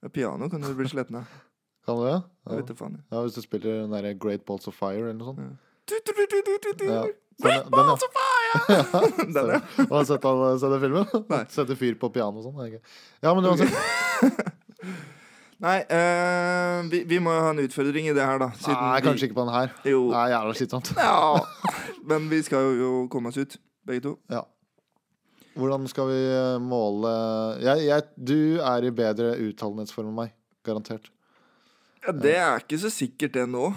Speaker 2: ja, Piano kan du bli sliten av.
Speaker 1: Kan du det? <laughs>
Speaker 2: Jeg
Speaker 1: Ja.
Speaker 2: vet da faen. jeg.
Speaker 1: ja, Hvis du spiller den derre Great Balls of Fire eller noe
Speaker 2: <laughs>
Speaker 1: sånt.
Speaker 2: Ja. Du, du, du, du, du, du, du.
Speaker 1: Ja.
Speaker 2: Great
Speaker 1: Den- den,
Speaker 2: balls
Speaker 1: <laughs> ja.
Speaker 2: of fire! <laughs> Den, ja.
Speaker 1: Og Har du sett, den- sett den
Speaker 2: <laughs> Nei.
Speaker 1: filmen? Setter fyr på piano og sånn? det er gøy. Ja, men uansett.
Speaker 2: Nei, eh, vi, vi må jo ha en utfordring i det her, da.
Speaker 1: Nei,
Speaker 2: vi-
Speaker 1: kanskje ikke på den her.
Speaker 2: <laughs> Jo.
Speaker 1: Nei, jævla slitsomt.
Speaker 2: Ja. Men vi skal jo komme oss ut, begge to.
Speaker 1: Ja. Hvordan skal vi eh, måle jeg, jeg, Du er i bedre uttalenhetsform enn meg. Garantert.
Speaker 2: Ja, det er ikke så sikkert, det nå.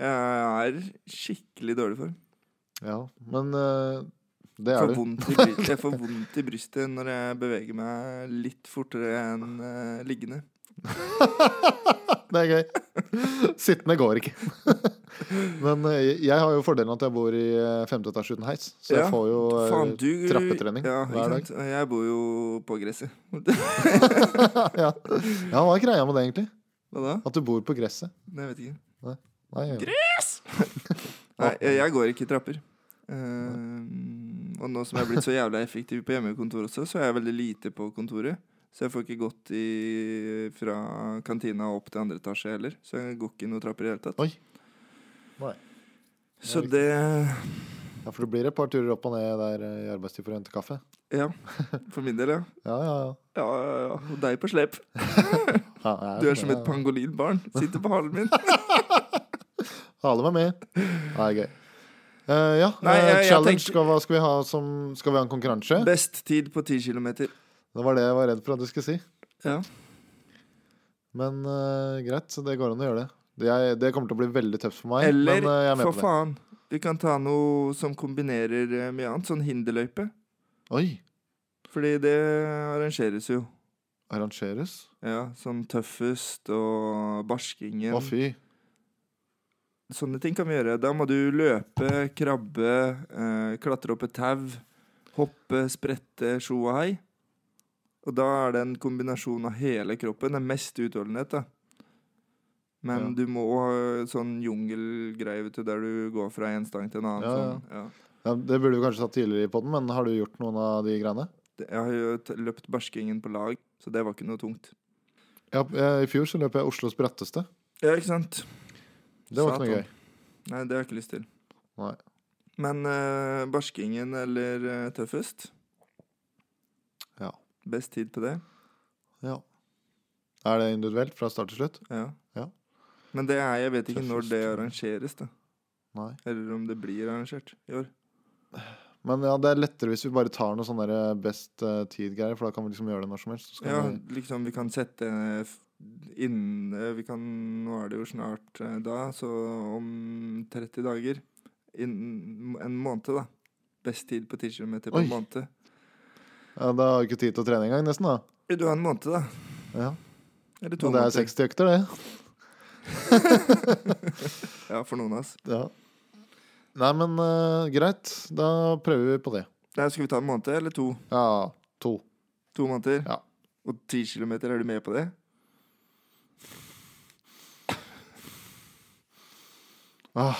Speaker 2: Jeg er skikkelig dårlig form.
Speaker 1: Ja, men eh, det
Speaker 2: Jeg
Speaker 1: er
Speaker 2: får
Speaker 1: du.
Speaker 2: vondt i bry- jeg får vondt i brystet når jeg beveger meg litt fortere enn eh, liggende.
Speaker 1: Det er gøy. Sittende går ikke. Men eh, jeg har jo fordelen at jeg bor i eh, femte etasje uten heis, så jeg
Speaker 2: Ja,
Speaker 1: får jo eh,
Speaker 2: Faen, du-
Speaker 1: trappetrening
Speaker 2: ja, ikke
Speaker 1: hver dag.
Speaker 2: sant? Jeg bor jo på gresset.
Speaker 1: ja. ja, hva er greia med det, egentlig?
Speaker 2: Hva da?
Speaker 1: At du bor på gresset?
Speaker 2: Nei, Jeg vet ikke.
Speaker 1: Nei, ja.
Speaker 2: Nei, jeg, jeg går ikke i trapper. Eh, og nå som jeg er blitt så jævla effektiv på hjemmekontor også, så er jeg veldig lite på kontoret. Så jeg får ikke gått i, fra kantina opp til andre etasje heller. Så jeg går ikke i noen trapper i det hele tatt.
Speaker 1: Oi. Nei.
Speaker 2: Så
Speaker 1: Det
Speaker 2: det
Speaker 1: ja, for det blir et par turer opp og ned der eh, i arbeidstid for å hente kaffe.
Speaker 2: Ja, for min del, ja.
Speaker 1: Ja, ja, ja.
Speaker 2: Ja, ja, ja. Og deg på slep.
Speaker 1: ja jeg
Speaker 2: Du er som et
Speaker 1: ja.
Speaker 2: pangolinbarn. Sitter på halen
Speaker 1: <laughs>
Speaker 2: min.
Speaker 1: Hale meg med. Nei, gøy. Eh, ja,
Speaker 2: Nei, jeg-
Speaker 1: eh,
Speaker 2: jeg
Speaker 1: challenge.
Speaker 2: tenkte-
Speaker 1: Skal, hva skal vi ha som Skal vi ha en konkurranse?
Speaker 2: Best tid på 10 kilometer.
Speaker 1: Det var det jeg var redd for at du skulle si.
Speaker 2: Ja.
Speaker 1: Men eh, greit, så det går an å gjøre det. Det, jeg, det kommer til å bli veldig tøft for meg.
Speaker 2: Eller,
Speaker 1: men eh, jeg er med
Speaker 2: for
Speaker 1: på det.
Speaker 2: faen, vi kan ta noe som kombinerer eh, mye annet. Sånn hinderløype.
Speaker 1: Oi!
Speaker 2: Fordi det arrangeres jo.
Speaker 1: Arrangeres?
Speaker 2: Ja, sånn tøffest og barskingen.
Speaker 1: Å, fy.
Speaker 2: Sånne ting kan vi gjøre. Da må du løpe, krabbe, eh, klatre opp et tau, hoppe, sprette, sjo og hei. Og da er det en kombinasjon av hele kroppen. Det er mest utholdenhet, da.
Speaker 1: Ja.
Speaker 2: Men du må ha sånn jungelgreie, vet du, der du går fra en stang til en annen.
Speaker 1: Ja, ja.
Speaker 2: sånn. Ja.
Speaker 1: Ja, det burde du kanskje tatt tidligere i podden, men har du gjort noen av de greiene?
Speaker 2: Det- Jeg har jo t- løpt barskingen på lag, så det var ikke noe tungt.
Speaker 1: Ja, eh, I fjor så løp jeg Oslos bratteste.
Speaker 2: Ja, ikke sant?
Speaker 1: Det var ikke noe
Speaker 2: Satan.
Speaker 1: gøy.
Speaker 2: Nei, det har jeg ikke lyst til.
Speaker 1: Nei.
Speaker 2: Men eh, barskingen eller eh, tøffest?
Speaker 1: Ja.
Speaker 2: Best tid på det?
Speaker 1: Ja. Er det individuelt fra start til slutt?
Speaker 2: Ja.
Speaker 1: Ja.
Speaker 2: Men det er, jeg vet ikke når
Speaker 1: Tøffest.
Speaker 2: det arrangeres, da.
Speaker 1: Nei.
Speaker 2: Eller om det blir arrangert i år.
Speaker 1: Men ja, det er lettere hvis vi bare tar noe sånn der best eh, tid-greier, for da kan vi liksom gjøre det når som helst. Så skal
Speaker 2: Ja,
Speaker 1: vi,
Speaker 2: liksom, vi kan sette eh, f- innen eh, Vi kan Nå er det jo snart eh, da, så om 30 dager Innen en måned, da. Best tid på 10 km på
Speaker 1: Oi.
Speaker 2: en måned.
Speaker 1: ja, da har vi ikke tid til å trene engang, nesten, da.
Speaker 2: Vil du ha en måned, da?
Speaker 1: Ja.
Speaker 2: Eller to
Speaker 1: Men det er
Speaker 2: måneder?
Speaker 1: 60 økter, det.
Speaker 2: Ja, for noen av oss.
Speaker 1: Ja. Nei, men eh, greit. Da prøver vi på det.
Speaker 2: Nei, Skal vi ta en måned eller to?
Speaker 1: Ja, to.
Speaker 2: To måneder?
Speaker 1: Ja.
Speaker 2: Og ti kilometer, er du med på det?
Speaker 1: Ah.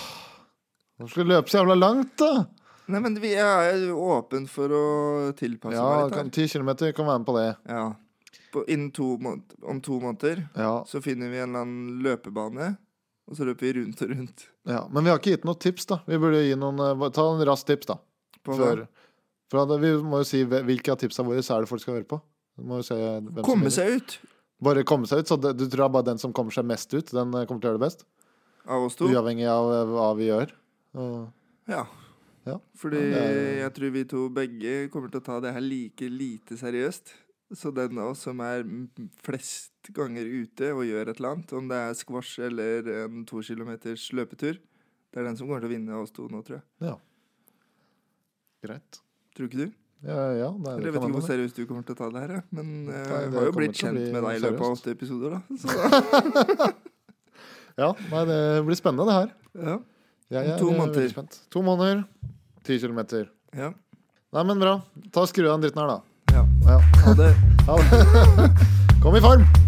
Speaker 1: Nå skal vi løpe så jævla langt, da!
Speaker 2: Nei, men vi er jo åpen for å tilpasse
Speaker 1: Ja,
Speaker 2: meg litt.
Speaker 1: kan,
Speaker 2: her.
Speaker 1: 10 km kan være med på det.
Speaker 2: Ja. På, innen to måned, om to måneder
Speaker 1: Ja,
Speaker 2: så finner vi en eller annen løpebane, og så løper vi rundt og rundt.
Speaker 1: ja. Men vi har ikke gitt noe tips, da. Vi burde gi noen eh, Ta en rask tips, da.
Speaker 2: På hva?
Speaker 1: Før. For at vi må jo si hve- hvilke av tipsa våre så er det folk skal høre på. Vi Må jo se hvem som
Speaker 2: Komme
Speaker 1: vinner.
Speaker 2: seg ut
Speaker 1: Bare komme seg ut. Så det, du tror bare den som kommer seg mest ut, den eh, kommer til å gjøre det best?
Speaker 2: av oss to. Ja.
Speaker 1: Uavhengig av eh, hva vi gjør. Og- Ja.
Speaker 2: Fordi
Speaker 1: Ja, det eh,
Speaker 2: jeg tror vi to begge kommer til å ta det her like lite seriøst. Så den av oss som er m- flest ganger ute og gjør et eller annet, om det er squash eller en to kilometers løpetur, det er den som kommer til å vinne av oss to nå, tror jeg.
Speaker 1: ja. Greit.
Speaker 2: Tror ikke du?
Speaker 1: Ja, ja, nei,
Speaker 2: Eller
Speaker 1: det
Speaker 2: jeg vet
Speaker 1: kan
Speaker 2: ikke hvor
Speaker 1: hende.
Speaker 2: seriøst du kommer til å ta det her, jeg. men eh,
Speaker 1: Nei,
Speaker 2: jeg
Speaker 1: det
Speaker 2: har jo
Speaker 1: kommer
Speaker 2: blitt
Speaker 1: til å
Speaker 2: kjent
Speaker 1: bli
Speaker 2: med deg i løpet av
Speaker 1: seriøst.
Speaker 2: åtte episoder, da. Så,
Speaker 1: ja, nei, det blir spennende, det her.
Speaker 2: ja.
Speaker 1: Jeg er
Speaker 2: To
Speaker 1: eh,
Speaker 2: måneder.
Speaker 1: veldig spent. To måneder, ti kilometer.
Speaker 2: Ja.
Speaker 1: Nei, men bra. Ta og Skru av den dritten her, da.
Speaker 2: ja.
Speaker 1: Ja.
Speaker 2: Ha det.
Speaker 1: Ha det. <laughs> Kom i form!